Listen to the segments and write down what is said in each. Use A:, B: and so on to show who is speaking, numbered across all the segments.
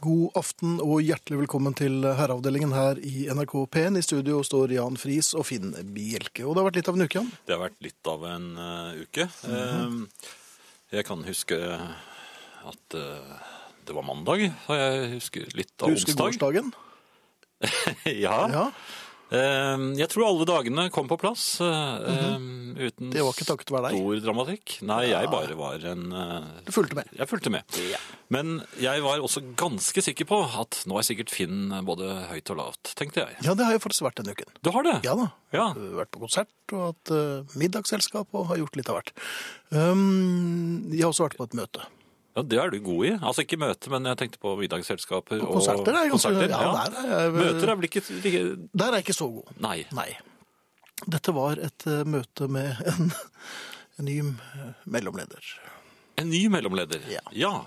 A: God aften og hjertelig velkommen til Herreavdelingen her i NRK P1. I studio står Jan Friis og Finn Bjelke. Og det har vært litt av en uke, Jan.
B: Det har vært litt av en eh, uke.
A: Mhm.
B: Eh, jeg kan huske at eh, det var mandag. og Jeg husker litt
A: Du
B: av
A: husker
B: onsdag.
A: gårsdagen?
B: ja.
A: Ja,
B: Eh, jeg tror alle dagene kom på plass eh, eh, uten
A: Mhm. Det var ikke takket være deg.
B: stor dramatikk. Nei, jeg bare var en eh,
A: du fulgte med.
B: jeg fulgte med. Men jeg var også ganske sikker på at nå er sikkert Finn både høyt og lavt, tenkte jeg.
A: Ja, det har jo faktisk vært denne uken.
B: Du har det?
A: Ja da.
B: Ja.
A: Jeg har Vært på konsert og hatt eh, middagsselskap og har gjort litt av hvert. Um, jeg har også vært på et møte.
B: Ja, Det er du god i. Altså ikke møte, men jeg tenkte på middagsselskaper.
A: Og konserter er jo ganske-
B: konserter,
A: ja,
B: ja.
A: der er jeg-
B: Møter er vel ikke like-
A: Der er jeg ikke så god.
B: Nei.
A: Nei. Dette var et eh, møte med en, en ny eh, mellomleder.
B: En ny mellomleder.
A: Ja.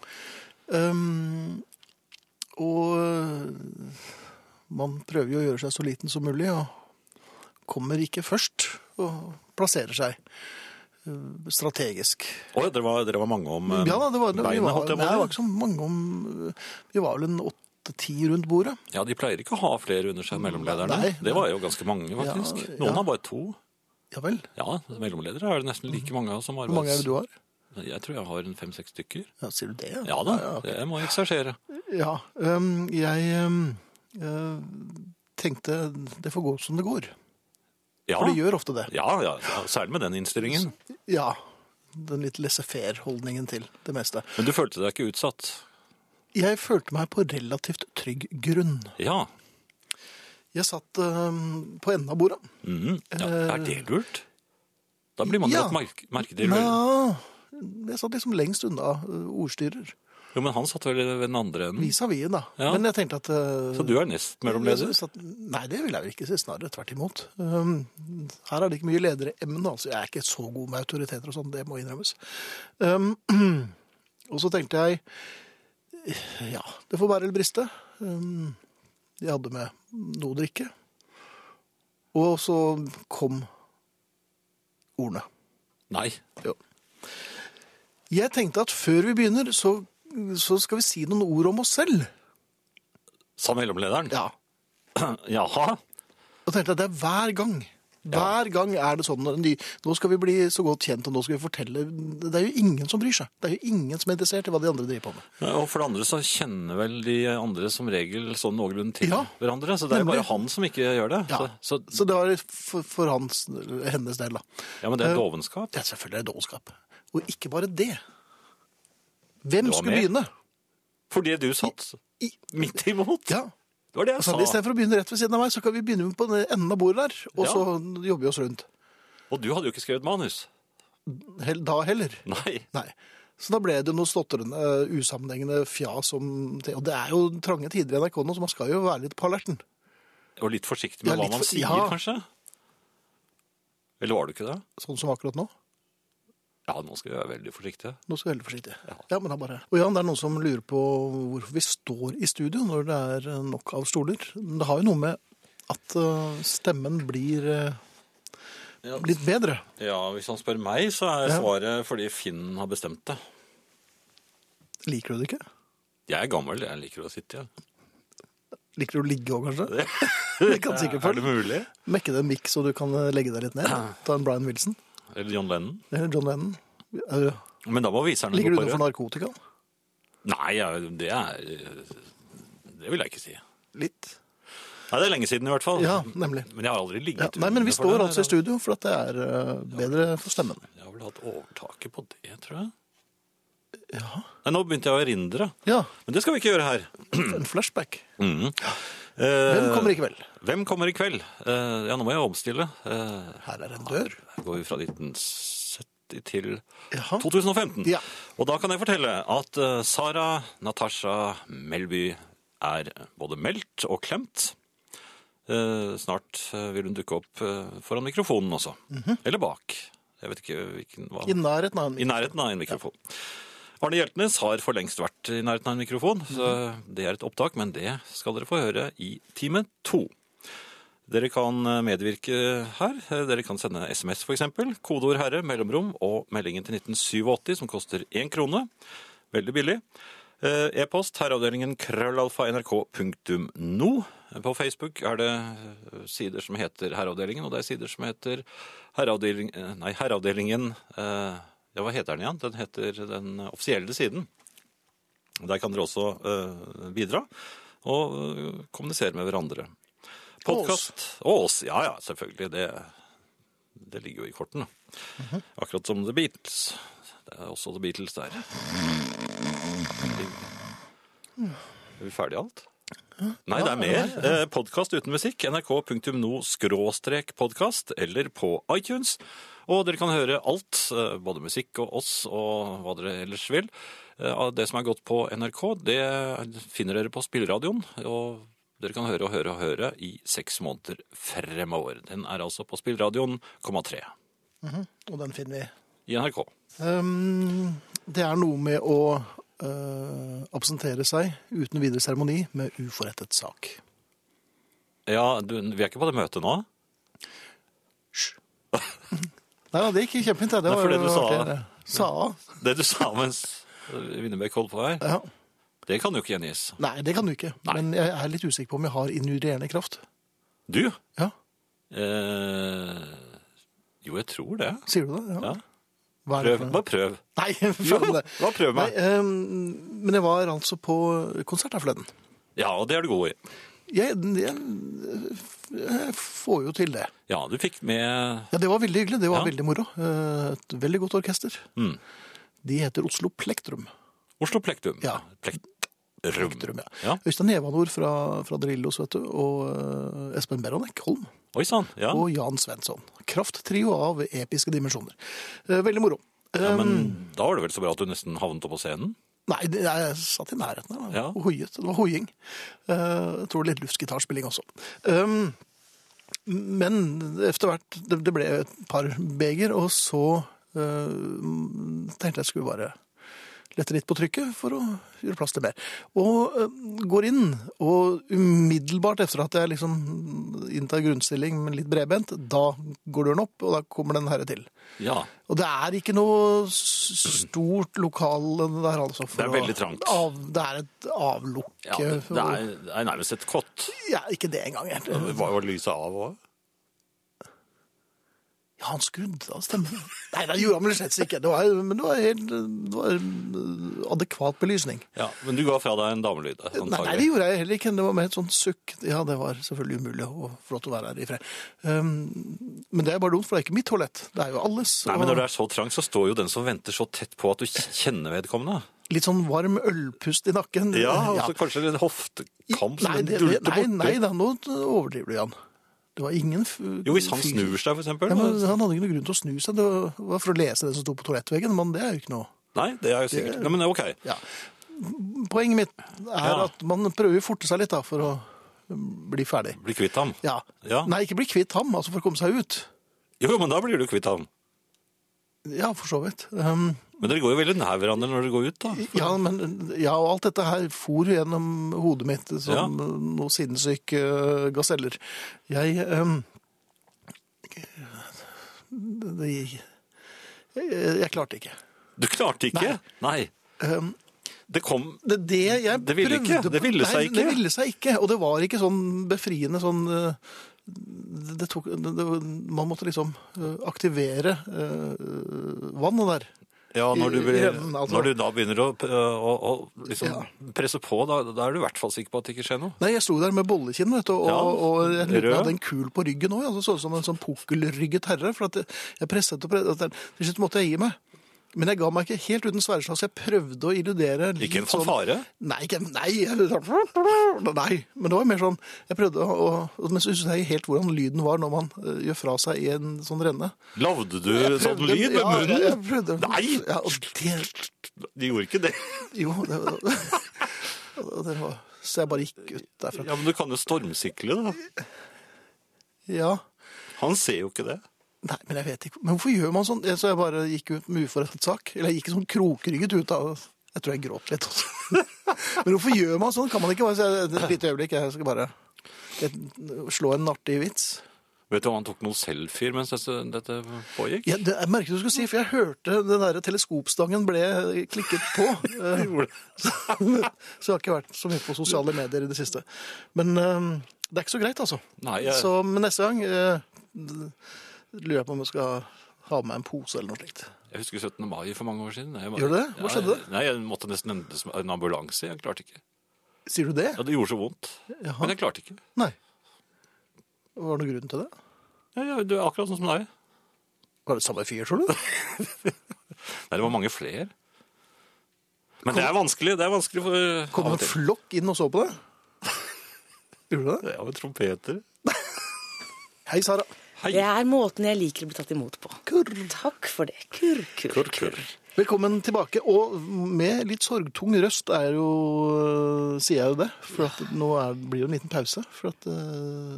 A: Um, og øh, man prøver jo å gjøre seg så liten som mulig, og kommer ikke først og plasserer seg øh, strategisk.
B: Oi, dere, var, dere var mange om eh,
A: Ja da, det var, vi
B: beinet,
A: var,
B: holdt jeg
A: nei,
B: på
A: det
B: å
A: var ikke så mange om øh, Vi var vel en åtte-ti rundt bordet.
B: si. Ja, De pleier ikke å ha flere under seg, mellomlederne.
A: Nei.
B: Det var jo ganske mange, faktisk.
A: Ja,
B: Noen
A: ja.
B: har bare to.
A: Ja vel.
B: Ja, mellomledere er det nesten like mange av som
A: Hvor mange er det
B: arbeids...
A: du har?
B: Jeg tror jeg har en fem-seks stykker.
A: Ja, sier du det?
B: Ja da, det må jeg eksersere.
A: Ja, øhm, jeg øhm, øh, tenkte det får gå som det går.
B: Ja.
A: For det gjør ofte det.
B: Ja, ja, ja, særlig med den innstillingen.
A: Ja. Den litt laissez-faire-holdningen til det meste.
B: Men du følte deg ikke utsatt?
A: Jeg følte meg på relativt trygg grunn.
B: Ja.
A: Jeg satt øhm, på enden av bordet.
B: Mhm. ja. Er det lurt? Da blir man jo
A: Ja.
B: lagt merke, merke til.
A: Nja, jeg satt liksom lengst unna øh, ordstyrer.
B: Jo, men han satt vel ved den andre enden.
A: Vis-à-vis, da.
B: Ja.
A: Men jeg tenkte at øh,
B: Så du er nest mellomleder?
A: jeg satt- Nei, det vil jeg vel ikke si. Snarere tvert imot. Øhm, her er det ikke mye lederemne, altså. Jeg er ikke så god med autoriteter og sånn, det må innrømmes. Øhm, og så tenkte jeg ja, det får bære eller briste. Øhm, jeg hadde med noe å drikke. Og så kom ordene.
B: Nei.
A: Jo. Jeg tenkte at før vi begynner, så, så skal vi si noen ord om oss selv.
B: Sa mellomlederen?
A: Ja.
B: Jaha.
A: Og tenkte at det er hver gang. Hver gang er det sånn når en ny, Nå skal vi bli så godt kjent, og nå skal vi fortelle Det er jo ingen som bryr seg. Det er jo ingen som er interessert i hva de andre driver på med.
B: Og for det andre så kjenner vel de andre som regel sånn noenlunde til
A: Ja,
B: hverandre, så det er jo
A: nemlig.
B: bare han som ikke gjør det.
A: Ja.
B: Så, så,
A: Så det var for, for hans, hennes del, da.
B: ja, men det er dovenskap.
A: Ja, selvfølgelig er det dårskap. Og ikke bare det. Hvem
B: Det var
A: skulle
B: mer.
A: begynne?
B: Fordi du satt
A: I,
B: midt imot.
A: ja. Altså,
B: Det var det jeg
A: Så I
B: sa.
A: stedet for å begynne rett ved siden av meg, så kan vi begynne på den enden av bordet der. Og
B: Ja.
A: så jobber vi oss rundt.
B: Og du hadde jo ikke skrevet manus.
A: Hell, da heller.
B: Nei.
A: Nei. Så da ble det noe stotrende, eh, usammenhengende fjas om Og det er jo trange tider i NRK nå, så man skal jo være litt på alerten.
B: Og litt forsiktig
A: Ja,
B: med hva
A: litt
B: man
A: for-
B: sier,
A: ja.
B: kanskje. Eller var du ikke det?
A: Sånn som akkurat nå.
B: Ja, nå skal vi være veldig forsiktige.
A: Nå skal vi være veldig forsiktige.
B: Ja.
A: Ja. men da bare. Og Jan, det er noen som lurer på hvorfor vi står i studio når det er eh, nok av stoler. Men det har jo noe med at eh, stemmen blir eh,
B: Ja.
A: litt bedre.
B: Ja, hvis han spør meg, så er
A: Ja.
B: svaret fordi Finn har bestemt det.
A: Liker du det ikke?
B: Jeg er gammel, jeg liker å sitte. Ja.
A: Liker du å ligge òg, kanskje? Det kan sikkert
B: Er
A: folk.
B: det mulig?
A: Mekke deg en mikk så du kan eh, legge deg litt ned. Ta en Brian Wilson
B: Eller John Lennon?
A: eller John Lennon. Er du-
B: Men da må viserne
A: Ligger du
B: gå på
A: utenfor
B: rød.
A: narkotika?
B: Nei, ja, det er Det vil jeg ikke si.
A: Litt.
B: Nei, Det er lenge siden i hvert fall.
A: Ja, nemlig.
B: Men jeg har aldri ligget
A: Ja, nei, men vi
B: under for
A: står
B: det.
A: altså i studio, for at det er eh, bedre for stemmen.
B: Jeg har vel hatt overtaket på det, tror jeg.
A: Ja.
B: Nei, Nå begynte jeg å erindre.
A: ja.
B: Men det skal vi ikke gjøre her.
A: En flashback.
B: Mhm.
A: Hvem
B: Eh,
A: kommer i kveld?
B: Hvem kommer i kveld? Eh, ja, nå må jeg omstille. Eh,
A: Her er en dør.
B: jeg går fra 1970 til
A: Jaha.
B: 2015.
A: Ja.
B: Og da kan jeg fortelle at eh, Sara Natasha Melby er både meldt og klemt. Eh, snart eh, vil hun dukke opp eh, foran mikrofonen også. Eller bak. Jeg vet ikke hvilken hva.
A: I nærheten av
B: I
A: en
B: nærheten av en mikrofon. Arne Hjeltnes har for lengst vært i nærheten av en mikrofon, så det er et opptak, men det skal dere få høre i time to. Dere kan medvirke her. Dere kan sende SMS, f.eks. Kodeord 'herre', mellomrom og meldingen til 1987, som koster én krone. Veldig billig. Eh, E-post herreavdelingen krøllalfa nrk.no. På Facebook er det eh, sider som heter Herreavdelingen, og det er sider som heter herreavdeling, eh, Nei, Herreavdelingen eh, Ja, hva heter den igjen? Den heter Den offisielle siden. Der kan dere også eh, bidra og eh, kommunisere med hverandre. Podkast Og oss. Ja ja, selvfølgelig. Det, det ligger jo i kortene. Akkurat som The Beatles. Det er også The Beatles der. Er vi ferdige alt? Nei, det er mer. Podkast uten musikk. nrk.no-podkast eller på iTunes. Og dere kan høre alt, eh, både musikk og oss og hva dere ellers vil. Eh, Av det som er gått på NRK, det finner dere på spilleradioen. Og dere kan høre og høre og høre i seks måneder fremover. Den er altså på spilleradioen, komma tre.
A: Og den finner vi.
B: I NRK.
A: Ehm, det er noe med å eh, absentere seg uten videre seremoni med uforrettet sak.
B: Ja, du, vi er ikke på det møtet nå?
A: Nei, ja, det gikk kjempefint. Det, det
B: Nei, for det du sa.
A: artig, det. Sa?
B: Det du sa mens Winnebekk holdt på her,
A: Ja.
B: det kan jo ikke gjengis.
A: Nei, det kan du ikke. Men jeg er litt usikker på om jeg har injurierende kraft.
B: Du?
A: Ja,
B: Eh, jo, jeg tror det.
A: sier du det? Ja.
B: Ja.
A: Hva er det
B: Prøv,
A: for noe?
B: bare prøv.
A: Nei,
B: Jo,
A: faen det.
B: bare prøv
A: Nei,
B: meg.
A: ehm, men jeg var altså på konsert her forleden.
B: Ja, og det er du god i.
A: Jeg, jeg, jeg får jo til det.
B: Ja, du fikk med
A: Ja, det var veldig hyggelig. Det var
B: Ja.
A: veldig moro. Eh, Et veldig godt orkester.
B: Mm.
A: De heter Oslo Plektrum.
B: Oslo Plektrum.
A: Ja.
B: Plektrum.
A: Plektrum, ja.
B: Ja.
A: Øystein Nevanor fra, fra Drillos, vet du, og eh, Espen Beronek Holm
B: Oi sann. Ja.
A: og Jan Svensson. Krafttrio av episke dimensjoner. Eh, Veldig moro.
B: ja,
A: Eh,
B: men da var det vel så bra at du nesten havnet opp på scenen?
A: Nei, det- jeg satt i nærheten her, da,
B: Ja.
A: og hoiet. Det var hoiing. Eh, Jeg tror det er litt luftgitarspilling også. Um, men efter hvert, det, det ble et par beger, og så eh, tenkte jeg skulle bare lette litt på trykket for å gjøre plass til mer. Og eh, går inn, og umiddelbart efter at jeg liksom inntar grunnstilling, men litt bredbent, da går døren opp, og da kommer den herre til.
B: Ja.
A: Og det er ikke noe s- stort lokale der, altså. for
B: Det er
A: å-
B: veldig trangt.
A: Av, det er et avlukke.
B: ja det, det, er, det er nærmest et kott.
A: ja, ikke det engang.
B: Var,
A: egentlig.
B: var lyset av òg?
A: Ja, han skrudde av stemmen. Nei, det gjorde han vel slett ikke. Det var, men det var helt det var øh, adekvat belysning.
B: Ja, men du ga fra deg en damelyd,
A: Nei, nei, det
B: antagelig.
A: gjorde jeg heller ikke. Det var mer et sånt sukk. Ja, det var selvfølgelig umulig og flott å være her i fred. Um, men det er bare dumt, for det er ikke mitt toalett. Det er jo alles.
B: Nei, men
A: og
B: Når det er så trangt, så står jo den som venter så tett på at du kjenner vedkommende.
A: Litt sånn varm ølpust i nakken.
B: Ja, og så kanskje en hoftekamp som
A: Nei, det,
B: dulter
A: det, nei, nei
B: borti.
A: da, nå overdriver du, Jan. Det var ingen f-
B: Jo, hvis han
A: fyr-
B: snur seg, for eksempel.
A: ja, men Han hadde ikke noen grunn til å snu seg. Det var for å lese det som sto på toalettveggen, men det er jo ikke noe.
B: Nei, det er jo sikkert. Nei, men ok.
A: Ja. Poenget mitt er
B: Ja.
A: at man prøver å forte seg litt da, for å um, bli ferdig.
B: Bli kvitt ham.
A: Ja.
B: Ja.
A: Nei, ikke bli kvitt ham, altså for å komme seg ut.
B: Jo, jo, men da blir du kvitt ham.
A: Ja, for så vidt. Um,
B: Men dere går jo veldig nær hverandre når dere går ut, da.
A: ja, men, ja, og alt dette her for gjennom hodet mitt som
B: Ja.
A: noen sinnssyke øh, gaseller. Jeg ehm, øhm, det, jeg, jeg klarte ikke.
B: Du klarte ikke. Nei.
A: Øhm,
B: Det kom
A: det, det, jeg
B: Det ville
A: prøvde
B: ikke. Det
A: på-
B: ville
A: nei,
B: seg ikke.
A: Det ville seg ikke. Og det var ikke sånn befriende sånn øh, det, det tok, det, det, Man måtte liksom øh, aktivere øh, vannet der.
B: Ja, når du,
A: I- i
B: blir,
A: revnen, altså.
B: når du da begynner å, å, å liksom
A: Ja.
B: presse på, da, da er du i hvert fall sikker på at det ikke skjer noe.
A: Nei, jeg sto der med bollekinn, vet du, og,
B: Ja,
A: og jeg lurte på om
B: rød.
A: jeg hadde en kul på ryggen òg. Så ut som en sånn pukkelrygget herre. For at jeg, jeg presset og presset. Til slutt måtte jeg gi meg. Men jeg ga meg ikke helt uten sverdeslag, så jeg prøvde å illudere litt
B: Ikke en
A: sånn-
B: fanfare?
A: Nei, ikke, nei, jeg- nei, men det var mer sånn Jeg prøvde å å- Men så husker jeg helt hvordan lyden var når man eh, gjør fra seg i en sånn renne.
B: Lagde du
A: Jeg
B: sånn
A: prøvde-
B: lyd med
A: ja,
B: munnen?
A: Jeg, jeg prøvde,
B: Nei!
A: Ja, og det,
B: De gjorde ikke det.
A: jo, det, og det var Så jeg bare gikk ut derfra.
B: Ja, Men du kan jo stormsikle, da.
A: Ja.
B: Han ser jo ikke det.
A: Nei, men jeg vet ikke. Men hvorfor gjør man sånn? Så jeg bare gikk ut med uforrettet sak. Eller jeg gikk sånn krokrygget ut av Jeg tror jeg gråt litt også. men hvorfor gjør man sånn? Kan man ikke bare si et lite øyeblikk, jeg skal bare jeg- slå en artig vits?
B: Vet du om han tok noen selfier mens dette, dette pågikk?
A: Ja, det, jeg merket du skulle si, for jeg hørte den der teleskopstangen ble klikket på. Eh,
B: Gjorde det.
A: så, så jeg har ikke vært så mye på sosiale medier i det siste. Men eh, det er ikke så greit, altså.
B: Nei, jeg-
A: Så men neste gang eh, lurer jeg på om jeg skal ha med meg en pose eller noe slikt.
B: Jeg husker 17. mai for mange år siden. Jeg
A: Gjør du det? Hva skjedde?
B: Ja, nei, jeg måtte nesten hente som- en ambulanse. Jeg klarte ikke.
A: Sier du det?
B: Ja, det gjorde så vondt.
A: Jaha.
B: Men jeg klarte ikke.
A: Nei. Var det noen grunn til det?
B: Ja, ja, du er akkurat sånn som deg.
A: Var det samme fyr, tror du?
B: Nei, det var mange flere. Men det er vanskelig. Det er vanskelig for
A: Kom en
B: av og til.
A: flokk inn og så på deg? Gjorde du det?
B: Ja, med trompeter.
A: Hei, Sara.
B: Hei.
C: Det er måten jeg liker å bli tatt imot på.
A: Kurr.
C: Takk for det. Kurr, kurr,
B: Kurr,
C: kurr.
B: kurr.
A: Velkommen tilbake, og med litt sorgtung røst er jo, øh, sier jeg jo det, for at nå er, blir det en liten pause, for at eh,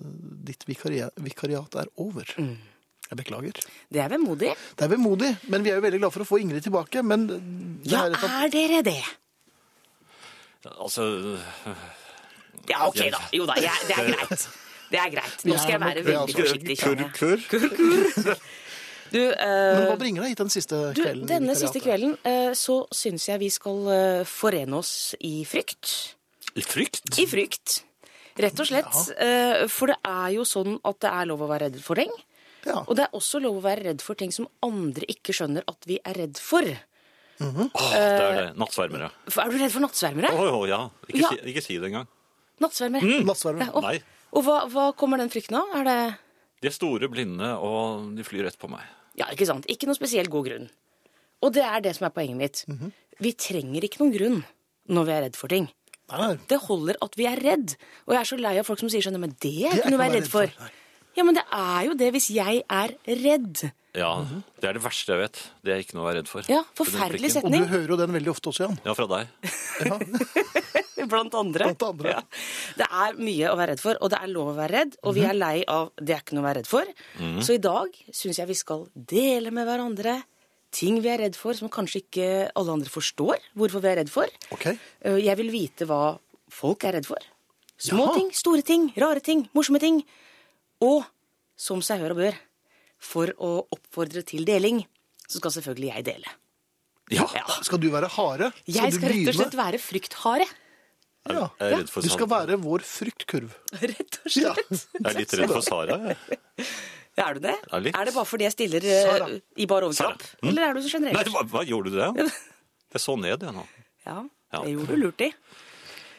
A: ditt vikaria- vikariat er over.
C: Mm.
A: Jeg beklager.
C: Det er vemodig.
A: Det er vemodig, men vi er jo veldig glad for å få Ingrid tilbake, men det
C: Ja,
A: er et av-
C: er dere det?
B: Altså,
C: Ja, ok da. Jo da, jeg, det er greit. Det er greit.
A: Vi
C: Nå skal
A: er
C: jeg være
A: nok det,
C: veldig
A: altså.
C: forsiktig.
B: kurr,
C: kjenner jeg.
B: kurr.
C: Kurr, kurr. Du, eh,
A: Men hva bringer deg hit den siste
C: du,
A: kvelden? i
C: denne
A: vikariatet?
C: siste kvelden eh, så syns jeg vi skal eh, forene oss i frykt.
B: I frykt?
C: I frykt. Rett og slett. eh, For det er jo sånn at det er lov å være redd for ting.
A: Ja.
C: Og det er også lov å være redd for ting som andre ikke skjønner at vi er redd for.
B: Åh, det er det. Nattsvermere.
C: For er du redd for nattsvermere?
B: Åh, åh, ja. Ikke,
C: Ja.
B: Si, ikke si det engang.
C: Nattsvermere.
A: Nattsvermere.
C: Ja, og-
B: Nei.
C: Og hva, hva kommer den frykten av? Er det
B: De er store, blinde, og de flyr rett på meg.
C: Ja, ikke sant. Ikke noe spesiell god grunn. Og det er det som er poenget mitt. Vi trenger ikke noen grunn når vi er redd for ting.
A: Nei, nei.
C: Det holder at vi er redd. Og jeg er så lei av folk som sier sånn Men det er ikke noe å være redd for.
A: Nei.
C: Ja, men det er jo det hvis jeg er redd.
B: Ja, det er det verste jeg vet. Det er ikke noe å være redd for.
C: Ja,
B: For den
C: forferdelig
B: blikken.
A: Og du
C: setning.
A: hører jo den veldig ofte også, Jan.
B: Ja, fra deg.
A: Ja.
C: Blant andre.
A: Blant andre.
C: Ja. Det er mye å være redd for, og det er lov å være redd. Og vi
A: Mhm.
C: er lei av 'det er ikke noe å være redd for'. Så i dag syns jeg vi skal dele med hverandre ting vi er redd for som kanskje ikke alle andre forstår hvorfor vi er redd for.
A: Ok.
C: Eh, Jeg vil vite hva folk er redd for. Små
A: Jaha.
C: ting, store ting, rare ting, morsomme ting. Og som seg hør og bør, for å oppfordre til deling, så skal selvfølgelig jeg dele.
B: Ja.
C: Ja.
A: Skal du være hare?
C: Jeg
A: du
C: skal rett og
A: begynne?
C: slett være frykthare.
A: Ja.
B: Jeg er redd for
A: Du skal
B: Sara.
A: være vår fryktkurv.
C: Rett og
A: Ja.
C: slett.
B: Jeg er litt redd for Sara. jeg.
C: Er du det?
B: Ja, litt. Sånn, Mm.
C: Er det bare fordi jeg stiller eh,
A: Sara.
C: i bar overkropp? Eller er du så
B: Nei,
C: generell?
B: hva, hva gjorde du det? Jeg så ned jeg nå.
C: Ja,
B: Ja.
C: det gjorde du lurt i.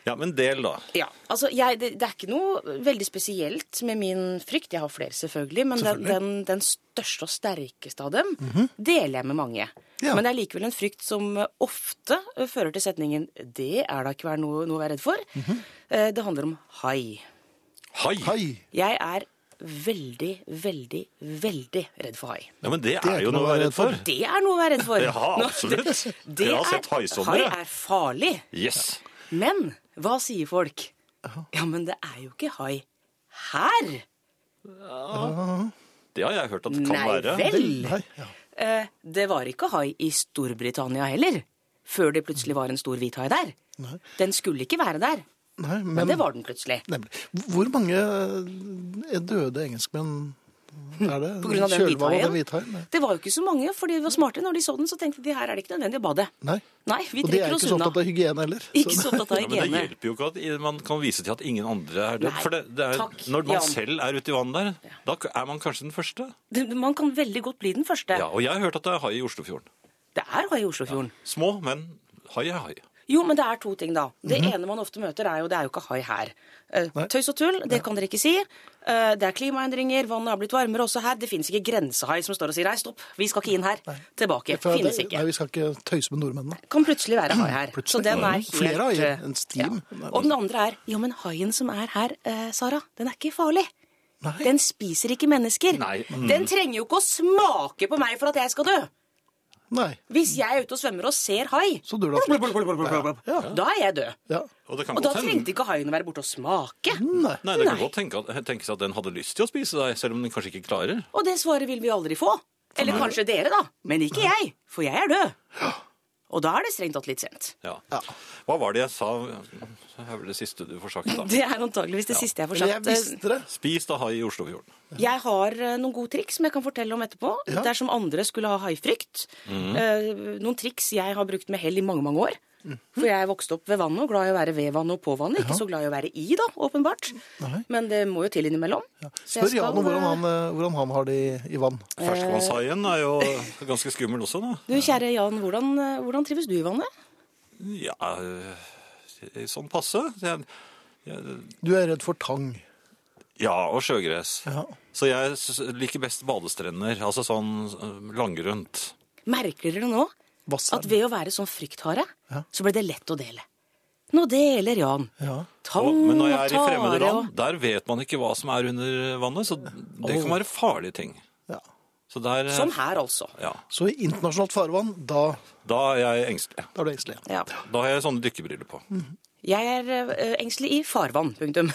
B: Ja, men del da.
C: Ja, altså jeg, det, det er ikke noe veldig spesielt med min frykt. Jeg har flere, selvfølgelig. Men Den, den, den største og sterkeste av dem
B: Mhm.
C: deler jeg med mange.
A: Ja.
C: Men det er likevel en frykt som eh, ofte eh, fører til setningen 'det er da ikke vær noe, noe å være redd for'.
B: Mhm.
C: Eh, Det handler om hai.
B: Hai!
A: Hei.
C: Jeg er veldig, veldig, veldig redd for hai.
B: Ja, men det er jo noe å være redd for.
C: Det er noe å være redd for.
B: Ja,
C: Nå,
B: absolutt.
C: det- det
B: Jeg har
C: er-
B: sett haisommer,
C: Hai
B: jeg.
C: er farlig.
B: Yes.
C: Men hva sier folk? Ja, men det er jo ikke hai her.
B: Det har jeg hørt at det kan
C: Nei
B: være.
C: vel.
A: Hei. Ja.
C: Eh, det var ikke hai i Storbritannia heller, før det plutselig var en stor hvit hai der. Den skulle ikke være der,
A: Nei, men,
C: men det var den plutselig.
A: Nemlig. Hvor mange er døde engelskmenn er det?
C: På grunn av den
A: Kjølvannet av den
C: hvithaien.
A: hvithaien? Nei.
C: Det var jo ikke så mange, for de var smarte. Når de så den, så tenkte de her er det ikke nødvendig å bade.
A: Nei.
C: Nei, vi
A: Og de er
C: trekker
A: jo
C: oss
A: ikke så
C: unna.
A: opptatt av hygiene heller. Så-
C: Ikke sånn så opptatt av
B: Ja, men det
C: hygiene.
B: hjelper jo ikke at man kan vise til at ingen andre er død.
C: eh. Nei,
B: For det, det er,
C: takk,
B: når man
C: Jan.
B: selv er ute i vannet der, da er man kanskje den første.
C: Det- Man kan veldig godt bli den første.
B: Ja, og jeg har hørt at det er hai i Oslofjorden.
C: Det er hai i Oslofjorden.
B: Små, men hai er hai.
C: Jo, men det er to ting, da. Det ene man ofte møter, er jo det er jo ikke hai her. Eh,
A: Mhm. Nei.
C: tøys og tull, det kan dere ikke si. Eh, det er klimaendringer, vannet har blitt varmere også her. Det fins ikke grensehai som står og sier nei, stopp, vi skal ikke inn her. Tilbake.
A: For det-
C: Finnes ikke.
A: Nei, vi skal ikke tøyse med nordmennene.
C: Kan plutselig være hai her. Så
A: Plutselig.
C: den er
A: Mm.
C: helt
A: Flere haier,
C: eh,
A: en stim.
C: Ja. Og den andre er jo, men haien som er her, eh, Sara, den er ikke farlig.
A: Nei.
C: Den spiser ikke mennesker.
B: Nei. Mm.
C: Den trenger jo ikke å smake på meg for at jeg skal dø.
A: Nei.
C: Hvis jeg er ute og svømmer og ser hai,
A: Så dør du av smitt. Ja. ja.
C: da er jeg død.
A: ja.
B: Og det kan
C: Og da
B: godt hende-
C: trengte ikke haien å være borte og smake.
A: Nei.
B: Nei, det kan godt tenke at- tenkes at den hadde lyst til å spise deg, selv om den kanskje ikke klarer.
C: Og det svaret vil vi aldri få. Eller kanskje dere, da. Men ikke jeg, for jeg er død. Og da er det strengt tatt litt sent.
B: Ja.
A: Ja.
B: Hva var det jeg sa? Det er vel det siste du får sagt, da.
C: Det er antageligvis det siste jeg får
A: Eller jeg
C: sagt.
A: visste det.
B: Spis da hai i Oslofjorden.
C: Jeg har eh, noen gode triks som jeg kan fortelle om etterpå.
A: Ja. Mhm.
C: Dersom andre skulle ha haifrykt. Eh, Noen triks jeg har brukt med hell i mange, mange år.
A: Mhm.
C: For jeg vokste opp ved vannet og glad i å være ved vannet og på vannet. Ikke så glad i å være i, da, åpenbart.
A: Nei.
C: Men det må jo til innimellom. Så jeg
A: Spør Jan
C: skal,
A: om hvordan
C: eh,
A: han, eh, hvordan han har det i, i vann.
B: Ferskvannshaien er jo ganske skummel også, da.
C: Du kjære Jan, hvordan, eh, hvordan trives du i vannet?
B: Ja, eh, sånn passe. Jeg- jeg-
A: Du er redd for tang.
B: Ja, og sjøgress.
A: Ja.
B: Så jeg s- liker best badestrender, altså sånn eh, langgrunt.
C: Merker dere nå at
A: Vasseren.
C: ved å være sånn frykthare,
A: Ja.
C: så ble det lett å dele? Nå deler Jan.
A: Ja.
C: Tang
B: Og, men når jeg
C: og
B: er i fremmede
C: tare og-
B: land, der vet man ikke hva som er under vannet, så det kan være farlige ting.
A: Ja.
B: Så der, eh,
C: Som her, altså.
B: ja,
A: Så i internasjonalt farvann, da,
B: da er jeg engstelig.
A: da er du engstelig.
C: Ja.
B: Da har jeg sånne dykkebriller på.
C: Jeg er eh, engstelig i farvann, punktum.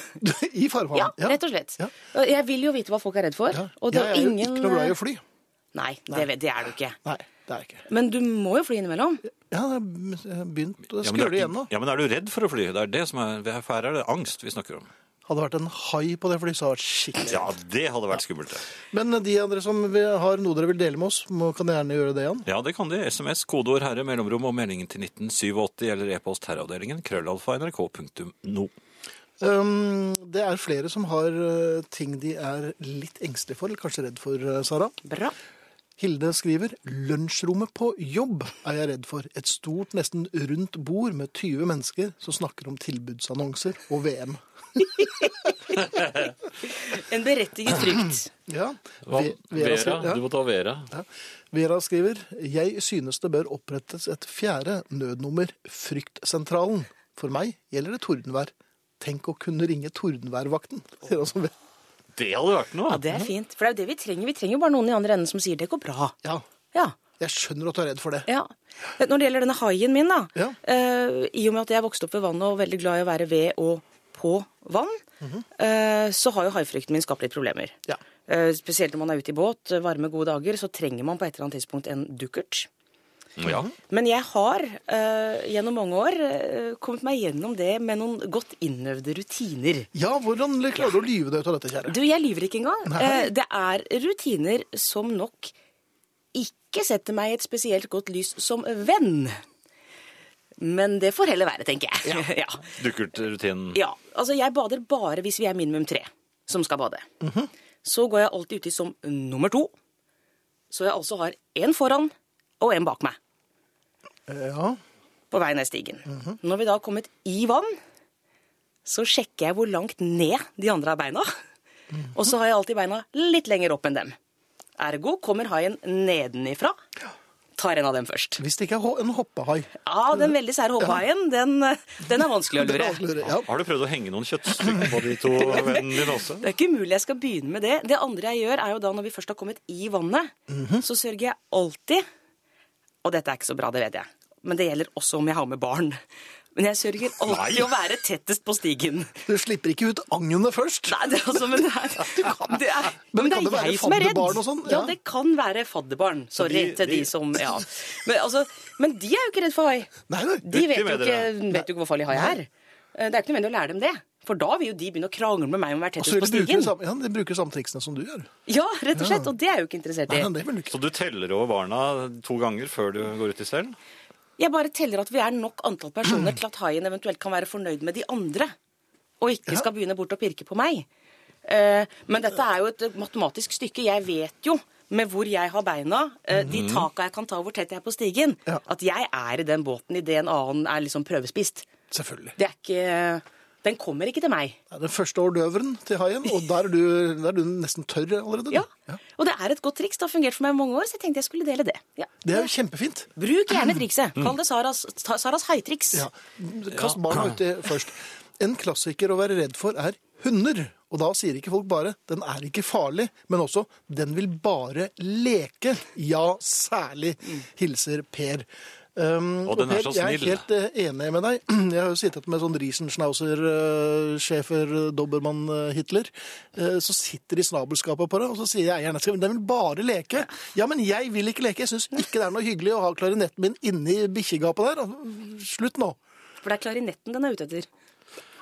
A: I farvann.
C: Ja, rett og slett.
A: Ja.
C: Og Jeg vil jo vite hva folk er redd for.
A: Ja.
C: Og det
A: jeg er jo
C: ingen...
A: ikke noe glad i å fly.
C: Nei, det, vet- det er du ikke.
A: Nei, det er jeg ikke.
C: Men du må jo fly innimellom.
A: Ja, jeg har begynt å
B: Ja, men
A: skule
B: er-
A: igjen nå.
B: Ja, men er du redd for å fly? Det er det som er, her er det angst vi snakker om.
A: Hadde det vært en hai på det flyet, så hadde det vært skikkelig.
B: Ja, det hadde vært skummelt. det.
A: Men eh, de andre som vil- har noe dere vil dele med oss, må, kan gjerne gjøre det igjen.
B: Ja, det kan de. SMS, kodeord herre, mellomrom og meldingen til 1987 eller e-post herreavdelingen krøllalfa nrk.no.
A: Um, det er flere som har uh, ting de er litt engstelige for, eller kanskje redd for, uh, Sara.
C: Bra.
A: Hilde skriver lunsjrommet på jobb er jeg redd for. Et stort, nesten rundt bord med 20 mennesker som snakker om tilbudsannonser og VM.
C: En berettiget frykt.
A: Ja, Ve-
D: Vera,
A: skriver, ja.
D: du må ta Vera.
A: Ja. Vera skriver Jeg synes det bør opprettes et fjerde nødnummer, Fryktsentralen. For meg gjelder det tordenvær. Tenk å kunne ringe tordenværvakten. sier altså Ve-
B: Det hadde vært noe!
C: Ja, det er fint. For det er jo det vi trenger. Vi trenger jo bare noen i andre enden som sier det går bra.
A: Ja,
C: Ja.
A: jeg skjønner at du er redd for det.
C: Ja. Når det gjelder denne haien min, da.
A: Ja.
C: eh, I og med at jeg vokste opp ved vannet og var veldig glad i å være ved og på vann, eh, så har jo haifrykten min skapt litt problemer.
A: Ja.
C: Eh, spesielt når man er ute i båt, eh, varme, gode dager, så trenger man på et eller annet tidspunkt en dukkert.
B: Ja.
C: Men jeg har eh, gjennom mange år eh, kommet meg gjennom det med noen godt innøvde rutiner.
A: Ja, hvordan klarer du å lyve deg ut av dette, kjære?
C: Du, jeg lyver ikke engang.
A: Nei.
C: Eh, det er rutiner som nok ikke setter meg i et spesielt godt lys som venn. Men det får heller være, tenker jeg. Ja. ja.
B: Dukkertrutinen.
C: Altså, jeg bader bare hvis vi er minimum tre som skal bade. Så går jeg alltid uti som nummer to. Så jeg altså har én foran og én bak meg.
A: Ja,
C: på vei ned stigen.
A: Mhm.
C: Når vi da har kommet i vann, så sjekker jeg hvor langt ned de andre har beina.
A: Mhm.
C: Og så har jeg alltid beina litt lenger opp enn dem. Ergo kommer haien nedenifra. Tar en av dem først.
A: Hvis det ikke er ho- en hoppehai.
C: Ja, den veldig sære hopphaien, den, den er vanskelig å
A: Det er
C: lure.
A: vanskelig å lure, Ja.
B: Har du prøvd å henge noen kjøttstykker på de to vennene dine også?
C: Det er ikke umulig jeg skal begynne med det. Det andre jeg gjør, er jo da når vi først har kommet i vannet,
A: Mhm.
C: så sørger jeg alltid Og dette er ikke så bra, det vet jeg, men det gjelder også om jeg har med barn. Men jeg sørger alltid å være tettest på stigen.
A: Du slipper ikke ut agnet først.
C: Nei, det, er altså, men det er, det er,
A: Men
C: men det
A: kan
C: er
A: det være
C: jeg som er redd.
A: fadderbarn og sånn?
C: Ja.
A: Ja.
C: det kan være fadderbarn. Sorry
B: de-
C: til de
B: de-
C: som Ja. Men, altså, men de er jo ikke redd for hai.
A: Nei, nei.
C: De vet
B: Uti
C: jo
B: med
C: ikke,
B: dere.
C: vet jo ikke hvor farlig hai er. Eh, Det er ikke nødvendig å lære dem det. For da vil jo de begynne å krangle med meg om å være
A: Så
C: tettest
A: Altså, de
C: på
A: bruker,
C: stigen.
A: de samme, ja, de bruker samme triksene som du gjør.
C: Ja, rett og slett. Og det er jeg jo ikke interessert
A: Nei,
C: i.
A: men det vil du ikke.
B: Så du teller over barna to ganger før du går ut i selv?
C: Jeg bare teller at vi er nok antall personer til at haien eventuelt kan være fornøyd med de andre, og ikke skal begynne bort og pirke på meg. Eh, men dette er jo et matematisk stykke. Jeg vet jo med hvor jeg har beina, eh, de taka jeg kan ta, og hvor tett jeg er på stigen,
A: Mhm. Ja.
C: at jeg er i den båten idet en annen er liksom prøvespist.
A: Selvfølgelig.
C: Det er ikke Den kommer ikke til meg.
A: Det er den første ordøveren til haien, og der er du, der er du nesten tørr allerede. du.
C: Ja. Og det er et godt triks. Det har fungert for meg i mange år, så jeg tenkte jeg skulle dele det. Ja.
A: Det er jo kjempefint.
C: Bruk gjerne trikset. Kall det Saras, ta- Saras haitriks.
A: Ja. Kast barna uti først. En klassiker å være redd for er hunder. Og da sier ikke folk bare 'den er ikke farlig', men også
C: Mm.
A: 'den vil bare leke'. Ja, særlig. Hilser Per. Um,
B: Og den er
A: Per,
B: så
A: Jeg
B: snill.
A: er helt eh, enig med deg. Jeg har jo sittet med sånn Riesenschnauzer, eh, Schäfer, eh, Dobermann, eh, Hitler. Eh, Så sitter de i snabelskapet på det, og så sier jeg gjerne at de vil bare leke. Ja, men jeg vil ikke leke. Jeg syns ikke det er noe hyggelig å ha klarinetten min inni bikkjegapet der. Altså, Slutt nå.
C: For det er klarinetten den er ute etter.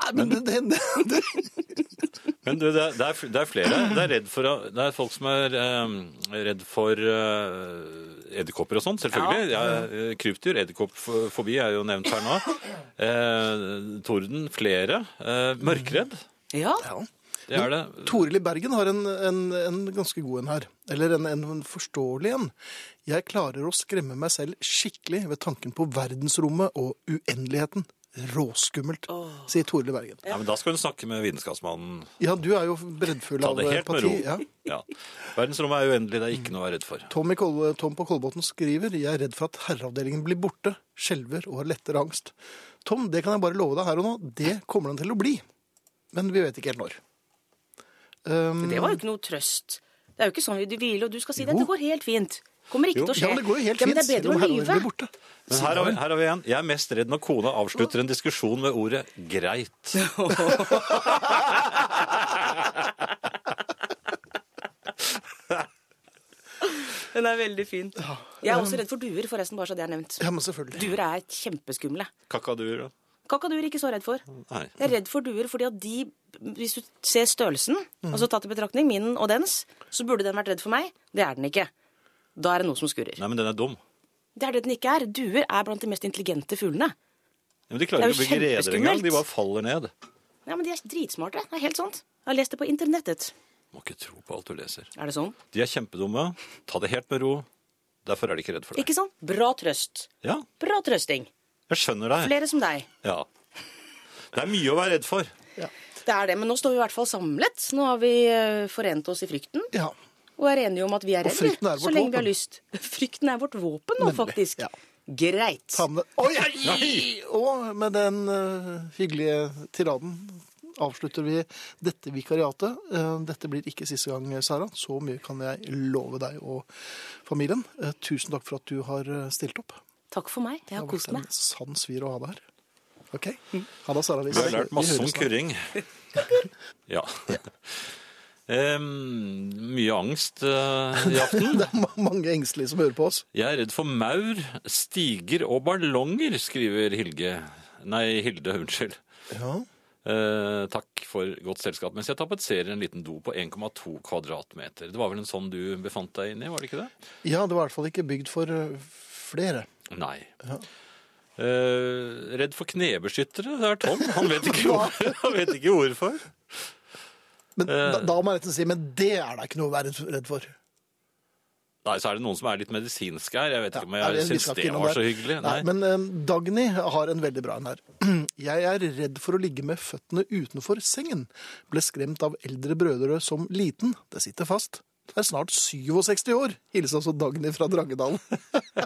A: Nei, men det, det, det,
B: Men du, det, er- det, er, fl- det er flere. Det er, redd for, å- det er folk som er eh, redd for eh, edderkopper og sånn, selvfølgelig. Ja. eh, krypdyr, edderkoppfobi er jo nevnt her nå. Eh, torden, flere. Eh, mørkredd,
C: Ja.
A: ja.
B: det er det.
A: Toril i Bergen har en, en, en ganske god en her. Eller en, en forståelig en. Jeg klarer å skremme meg selv skikkelig ved tanken på verdensrommet og uendeligheten. Råskummelt, sier Toril i Bergen.
B: Ja, men da skal hun snakke med vitenskapsmannen.
A: Ja, du er jo breddfull
B: Ta
A: av
B: det helt med ro.
A: parti. Ja.
B: Ja. Verdensrommet er uendelig, det er ikke noe å være redd for.
A: Tom, i Kol Tom på Kolbotn skriver Jeg er redd for at herreavdelingen blir borte, skjelver og har lettere angst. Tom, det kan jeg bare love deg her og nå. Det kommer den til å bli. Men vi vet ikke helt når. Um,
C: Det var jo ikke noe trøst. Det er jo ikke sånn vi du hviler, og du skal si det.
A: Jo.
C: Det går helt fint. Kommer ikke
B: Jo.
C: til å skje.
A: ja, men det går jo helt
C: Ja,
A: fint.
C: men det er
A: selv om
C: bedre å
A: herreavdelingen blir
C: lyve.
A: borte.
B: Men her har, vi, her har vi en. Jeg er mest redd når kona avslutter en diskusjon med ordet 'greit'.
C: Den er veldig fin. Jeg er også redd for duer, forresten, bare så det er nevnt.
A: Ja, men selvfølgelig.
C: Duer er kjempeskumle.
B: Kakaduer og
C: Kakaduer er ikke så redd for.
B: Nei.
C: Jeg er redd for duer fordi at de, hvis du ser størrelsen,
A: Mm.
C: altså tatt i betraktning, min og dens, så burde den vært redd for meg. Det er den ikke. Da er det noe som skurrer.
B: Nei, men den er dum.
C: Det er det den ikke er. Duer er blant de mest intelligente fuglene.
B: Ja, men de klarer
C: Det er
B: ikke å
C: jo
B: bygge reder engang.
C: kjempeskummelt.
B: De bare faller ned.
C: Ja, men de er dritsmarte. Det er helt sant. Jeg har lest det på internettet.
B: Må ikke tro på alt du leser.
C: Er det sånn?
B: De er kjempedumme. Ta det helt med ro. Derfor er de ikke redd for deg.
C: Ikke sant? Bra trøst.
B: Ja,
C: Bra trøsting.
B: jeg skjønner deg.
C: Flere som deg.
B: Ja. Det er mye å være redd for.
C: Det er det, men nå står vi i hvert fall samlet. Nå har vi eh, forent oss i frykten.
A: Ja.
C: Og er enige om at vi er
A: Og frykten
C: redde,
A: er vårt
C: så lenge vi har
A: våpen.
C: lyst. Frykten er vårt våpen nå,
A: Nemlig,
C: faktisk.
A: ja.
C: Greit.
A: Ta med Oi, oi, oi! Og med den eh, hyggelige tiraden avslutter vi dette vikariatet. Eh, dette blir ikke siste gang, Sara. Så mye kan jeg love deg og familien. Eh, tusen takk for at du har eh, stilt opp.
C: Takk for meg. Jeg har
A: vært
C: kost meg.
A: en sann svir å ha deg her. OK? Ha det, Sara.
B: Vi har lært masse om
A: høres snart.
B: kurring. Ja. Em, mye angst eh, i aften.
A: Det er ma- mange engstelige som hører på oss.
B: Jeg er redd for maur, stiger og ballonger, skriver Hilge. Nei, Hilde, unnskyld.
A: Ja.
B: Eh, takk for godt selskap. Mens jeg tapetserer en liten do på 1,2 kvadratmeter. Det var vel en sånn du befant deg inni, var det ikke det?
A: ja, det var i hvert fall ikke bygd for eh, flere.
B: Nei. Eh, redd for knebeskyttere. Det er Tom. Han vet ikke, hvor, han vet ikke hvorfor.
A: Men
B: Eh.
A: da, da må jeg rett og slett si, men det er da ikke noe å være redd for.
B: Nei, så er det noen som er litt medisinske her. Jeg vet ikke om
A: Ja,
B: jeg
A: vi
B: syns
A: skal ikke
B: det
A: innom
B: var så
A: der.
B: hyggelig.
A: Nei. men eh, Dagny har en veldig bra en her. Jeg er redd for å ligge med føttene utenfor sengen. Ble skremt av eldre brødre som liten. Det sitter fast. Er snart 67 år. Hilsen altså Dagny fra Drangedal.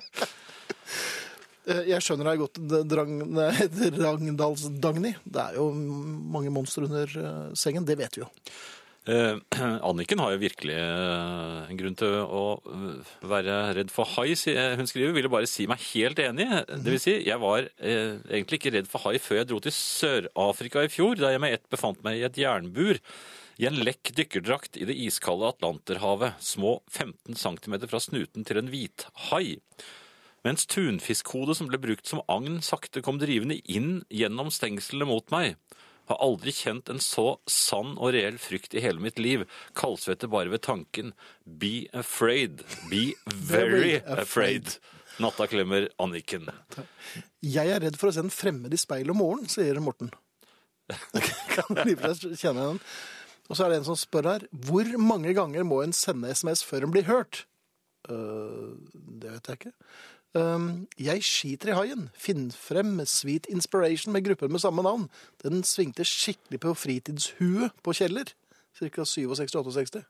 A: Eh, Jeg skjønner deg godt, D- Drang, nei, Drangdals-Dagny. Det er jo mange monstre under eh, sengen, det vet vi jo.
B: Eh, Anniken har jo virkelig eh, en grunn til å eh, være redd for hai. sier- eh, Hun skriver ville bare si meg helt enig. Det vil si, jeg var eh, egentlig ikke redd for hai før jeg dro til Sør-Afrika i fjor, da jeg med ett befant meg i et jernbur i en lekk dykkerdrakt i det iskalde Atlanterhavet, små 15 cm fra snuten til en hvithai. Mens tunfiskhodet som ble brukt som agn, sakte kom drivende inn gjennom stengslene mot meg. Har aldri kjent en så sann og reell frykt i hele mitt liv. Kaldsvette bare ved tanken. Be afraid. Be very
A: Very afraid.
B: afraid. Natta klemmer Anniken.
A: Jeg er redd for å se en fremmed i speilet om morgenen, sier Morten. kan man i og for seg kjenne den. Og så er det en som spør her, hvor mange ganger må en sende SMS før en blir hørt? Øh, det vet jeg ikke. Ehm, jeg skiter i haien. Finn frem Sweet Inspiration med gruppen med samme navn. Den svingte skikkelig på fritidshuet på Kjeller. Cirka 67-68.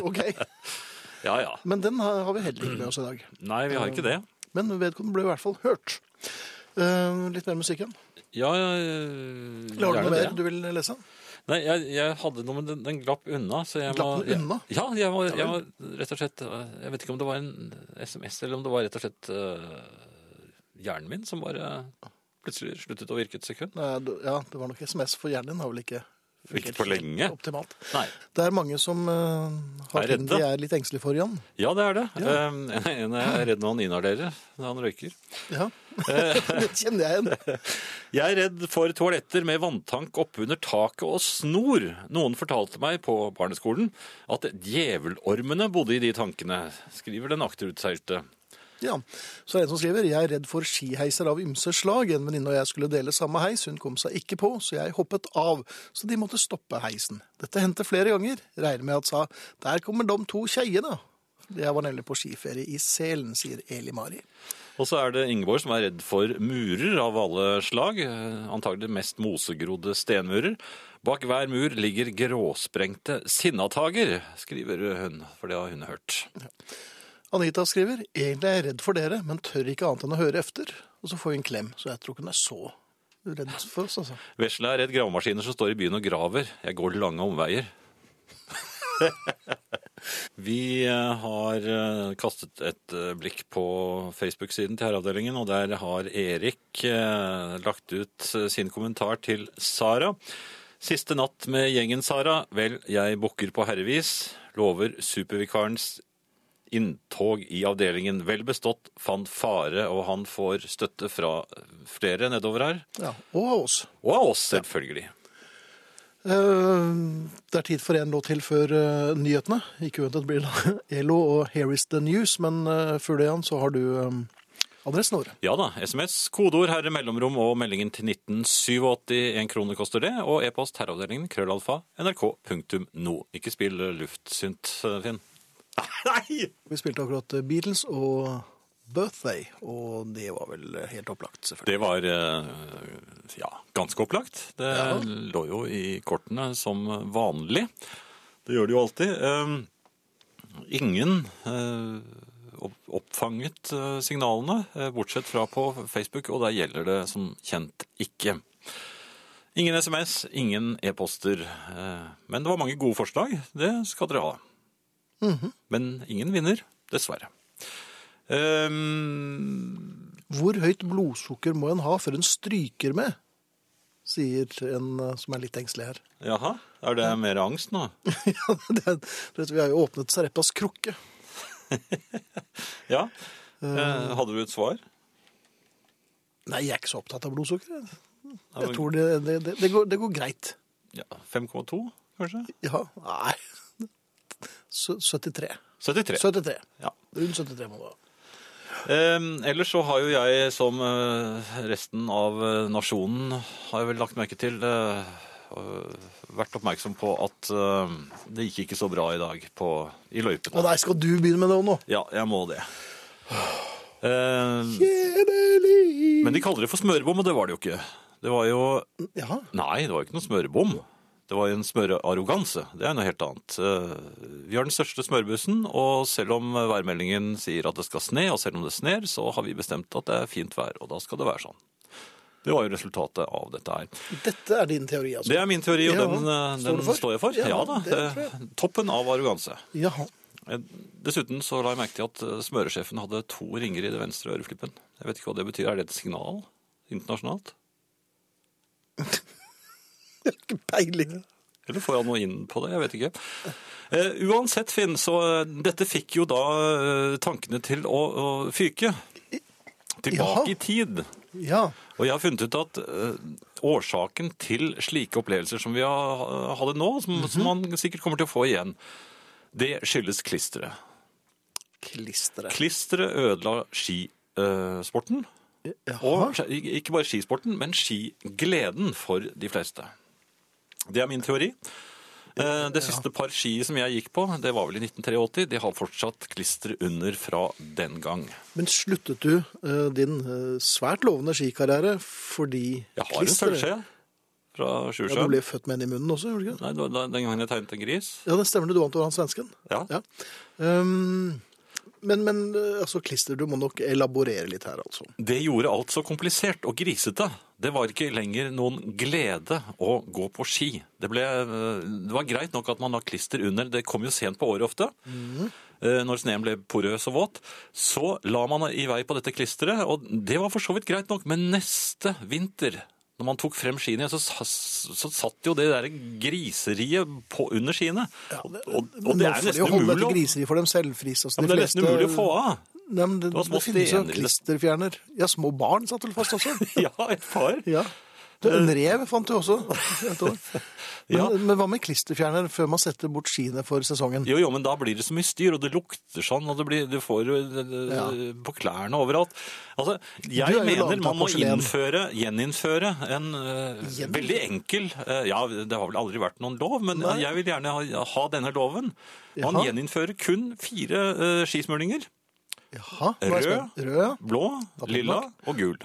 A: ok,
B: Ja ja.
A: men den har har vi heller ikke med oss i dag.
B: Nei, vi har ikke det.
A: Men vedkommende ble i hvert fall hørt. Eh, litt mer musikk igjen.
B: Ja, ja
A: Har du
B: gjerne
A: noe mer
B: det.
A: du vil lese?
B: Nei, jeg, jeg hadde noe, men den, den glapp unna. Så jeg
A: Glapp
B: må-
A: den unna?
B: Jeg, ja, jeg var, jeg var rett og slett eh, Jeg vet ikke om det var en SMS, eller om det var rett og slett eh, hjernen min som bare plutselig sluttet å virke et sekund.
A: Nei, du- Ja, det var nok SMS, for hjernen din har vel ikke
B: Ikke for lenge.
A: optimalt.
B: Nei.
A: Det er mange som eh, har
B: Er
A: ting
B: redde.
A: de er litt engstelige for, Jan.
B: Ja, det er det. Eh, En, en er redd når han inhalerer, når han røyker.
A: Ja. det kjenner jeg igjen.
B: Jeg er redd for toaletter med vanntank oppunder taket og snor. Noen fortalte meg på barneskolen at djevelormene bodde i de tankene, skriver den akterutseilte.
A: Ja. Så er det en som skriver Jeg er redd for skiheiser av ymse slag. En venninne og jeg skulle dele samme heis. Hun kom seg ikke på, så jeg hoppet av. Så de måtte stoppe heisen. Dette hendte flere ganger. Regner med at sa Der kommer de to kjeiene. Jeg var nemlig på skiferie i Selen, sier Eli Mari.
B: Og så er det Ingeborg som er redd for murer av alle slag, eh, antagelig mest mosegrodde stenmurer. Bak hver mur ligger gråsprengte sinnatager, skriver hun, for det har hun hørt.
A: Anita skriver Egentlig er jeg redd for dere, men tør ikke annet enn å høre efter. Og så får vi en klem, så jeg tror ikke hun er så redd for oss, altså.
B: Vesle er redd gravemaskiner som står i byen og graver. Jeg går lange omveier. Vi eh, har eh, kastet et eh, blikk på Facebook-siden til Herreavdelingen, og der har Erik eh, lagt ut eh, sin kommentar til Sara. Siste natt med gjengen, Sara. Vel, jeg bukker på herrevis. Lover supervikarens inntog i avdelingen. Vel bestått, fant fare, og han får støtte fra flere nedover her.
A: Ja, Og av oss.
B: Og av oss, selvfølgelig.
A: Eh, Det er tid for en låt til før eh, nyhetene. Ikke uventet blir det Elo og Here is the news, men eh, før det, Jan, så har du eh, adressen vår.
B: Ja da, SMS, kodeord, herre mellomrom og meldingen til 1987. Én krone koster det. Og e-post herreavdelingen krøllalfa nrk.no. Ikke spill luftsynt, Finn. Nei!
A: Vi spilte akkurat eh, Beatles og Birthday, og det var vel eh, helt opplagt, selvfølgelig.
B: Det var eh, ja, ganske opplagt. Det
A: Ja.
B: lå jo i kortene som vanlig. Det gjør det jo alltid. Eh, ingen eh, opp- oppfanget eh, signalene, eh, bortsett fra på Facebook, og der gjelder det som kjent ikke. Ingen SMS, ingen e-poster. eh, men det var mange gode forslag. Det skal dere ha.
A: Mhm.
B: Men ingen vinner, dessverre. Um,
A: Hvor høyt blodsukker må en ha før en stryker med? Sier en eh, som er litt engstelig her.
B: Jaha, er det mer angst nå?
A: Ja, det, er- du vet, vi har jo åpnet Sareppas krukke.
B: Ja. Eh, Hadde du et svar?
A: Nei, jeg er ikke så opptatt av blodsukker. jeg.
B: men-
A: Jeg tror det, det, det, det, går, det går greit.
B: Ja, 5,2 kanskje?
A: Ja, nei. Sø- 73.
B: 73.
A: 73.
B: Ja.
A: Rundt 73 må det være.
B: Eh, ellers så har jo jeg, som eh, resten av eh, nasjonen, har jeg vel lagt merke til eh, eh, vært oppmerksom på at eh, det gikk ikke så bra i dag på, i
A: Å
B: løypene.
A: nei, skal du begynne med det nå?
B: Ja, jeg må det. Eh,
A: Kjedelig!
B: men de kaller det for smørebom, og det var det jo ikke. Det var jo
A: Ja,
B: Nei, det var jo ikke noen smørebom. Det var jo en smørearroganse. Det er noe helt annet. Eh, Vi har den største smørbussen, og selv om værmeldingen sier at det skal sne, og selv om det sner, så har vi bestemt at det er fint vær, og da skal det være sånn. Det var jo resultatet av dette her.
A: dette er din teori, altså.
B: Det er min teori, og
A: Ja,
B: den,
A: står
B: eh,
A: du
B: den
A: for?
B: står jeg for.
A: Ja,
B: Ja da.
A: det tror
B: eh, Toppen av arroganse.
A: Jaha.
B: Eh, Dessuten så la jeg merke til at eh, smøresjefen hadde to ringer i det venstre øreflippen. Jeg vet ikke hva det betyr. Er det et signal internasjonalt?
A: Jeg har ikke peiling.
B: Eller får han noe inn på det? Jeg vet ikke. Eh, uansett, Finn, så eh, dette fikk jo da eh, tankene til å, å fyke. Tilbake
A: Jaha.
B: i tid.
A: Ja.
B: Og jeg har funnet ut at eh, årsaken til slike opplevelser som vi har, eh, hadde nå, som, som man sikkert kommer til å få igjen, det skyldes klisteret.
A: Klisteret.
B: Klisteret ødela skisporten. eh,
A: Jaha.
B: Og sk- ikke bare skisporten, men skigleden for de fleste. Det er min teori. Eh, Det siste par ski som jeg gikk på, det var vel i 1983. De har fortsatt klister under fra den gang.
A: Men sluttet du eh, din eh, svært lovende skikarriere fordi
B: Jeg har en sølvskje fra
A: Ja, du
B: Sjusjøen.
A: ble født med den i munnen også, gjorde du ikke det?
B: Nei, det var da- den gangen jeg tegnet en gris.
A: Ja, det stemmer det. Du vant over han svensken.
B: Ja.
A: Ja. Um, men, men eh, altså, klister, du må nok elaborere litt her, altså.
B: Det gjorde alt så komplisert og grisete. Det var ikke lenger noen glede å gå på ski. Det, ble, eh, det var greit nok at man la klister under. Det kom jo sent på året ofte. Eh, Når sneen ble porøs og våt. Så la man i vei på dette klisteret, og det var for så vidt greit nok. Men neste vinter, når man tok frem skiene igjen, så, sa- så satt jo det der griseriet på, under skiene. og, og, og
A: Men
B: det
A: nå
B: er
A: får de
B: nesten
A: jo holde
B: umulig
A: etter
B: å
A: griseri for dem selvfris. Altså,
B: ja, men det er nesten umulig å få av.
A: Nei, men det,
B: var
A: det,
B: små
A: finnes jo
B: stener i det.
A: klisterfjerner. Ja, små barn satt vel fast også.
B: Ja, et par.
A: Ja. Du, en rev fant du også. et år. Men,
B: Eh. Ja.
A: men hva med klisterfjerner før man setter bort skiene for sesongen?
B: Jo, jo, men da blir det så mye styr, og det lukter sånn, og det blir, du får jo det- det-
A: Ja.
B: på klærne overalt. Altså,
A: Du er jo
B: jeg mener
A: laget av
B: man må
A: porselen.
B: innføre, gjeninnføre, en eh, veldig enkel eh, Ja, det har vel aldri vært noen lov, men jeg vil gjerne ha, ha denne loven. Man
A: Jaha.
B: gjeninnfører kun fire eh, skismurninger.
A: Jaha, nå er jeg
B: Rød,
A: spent. Rød, ja.
B: blå,
A: Da blir det
B: lilla
A: nok.
B: og gul.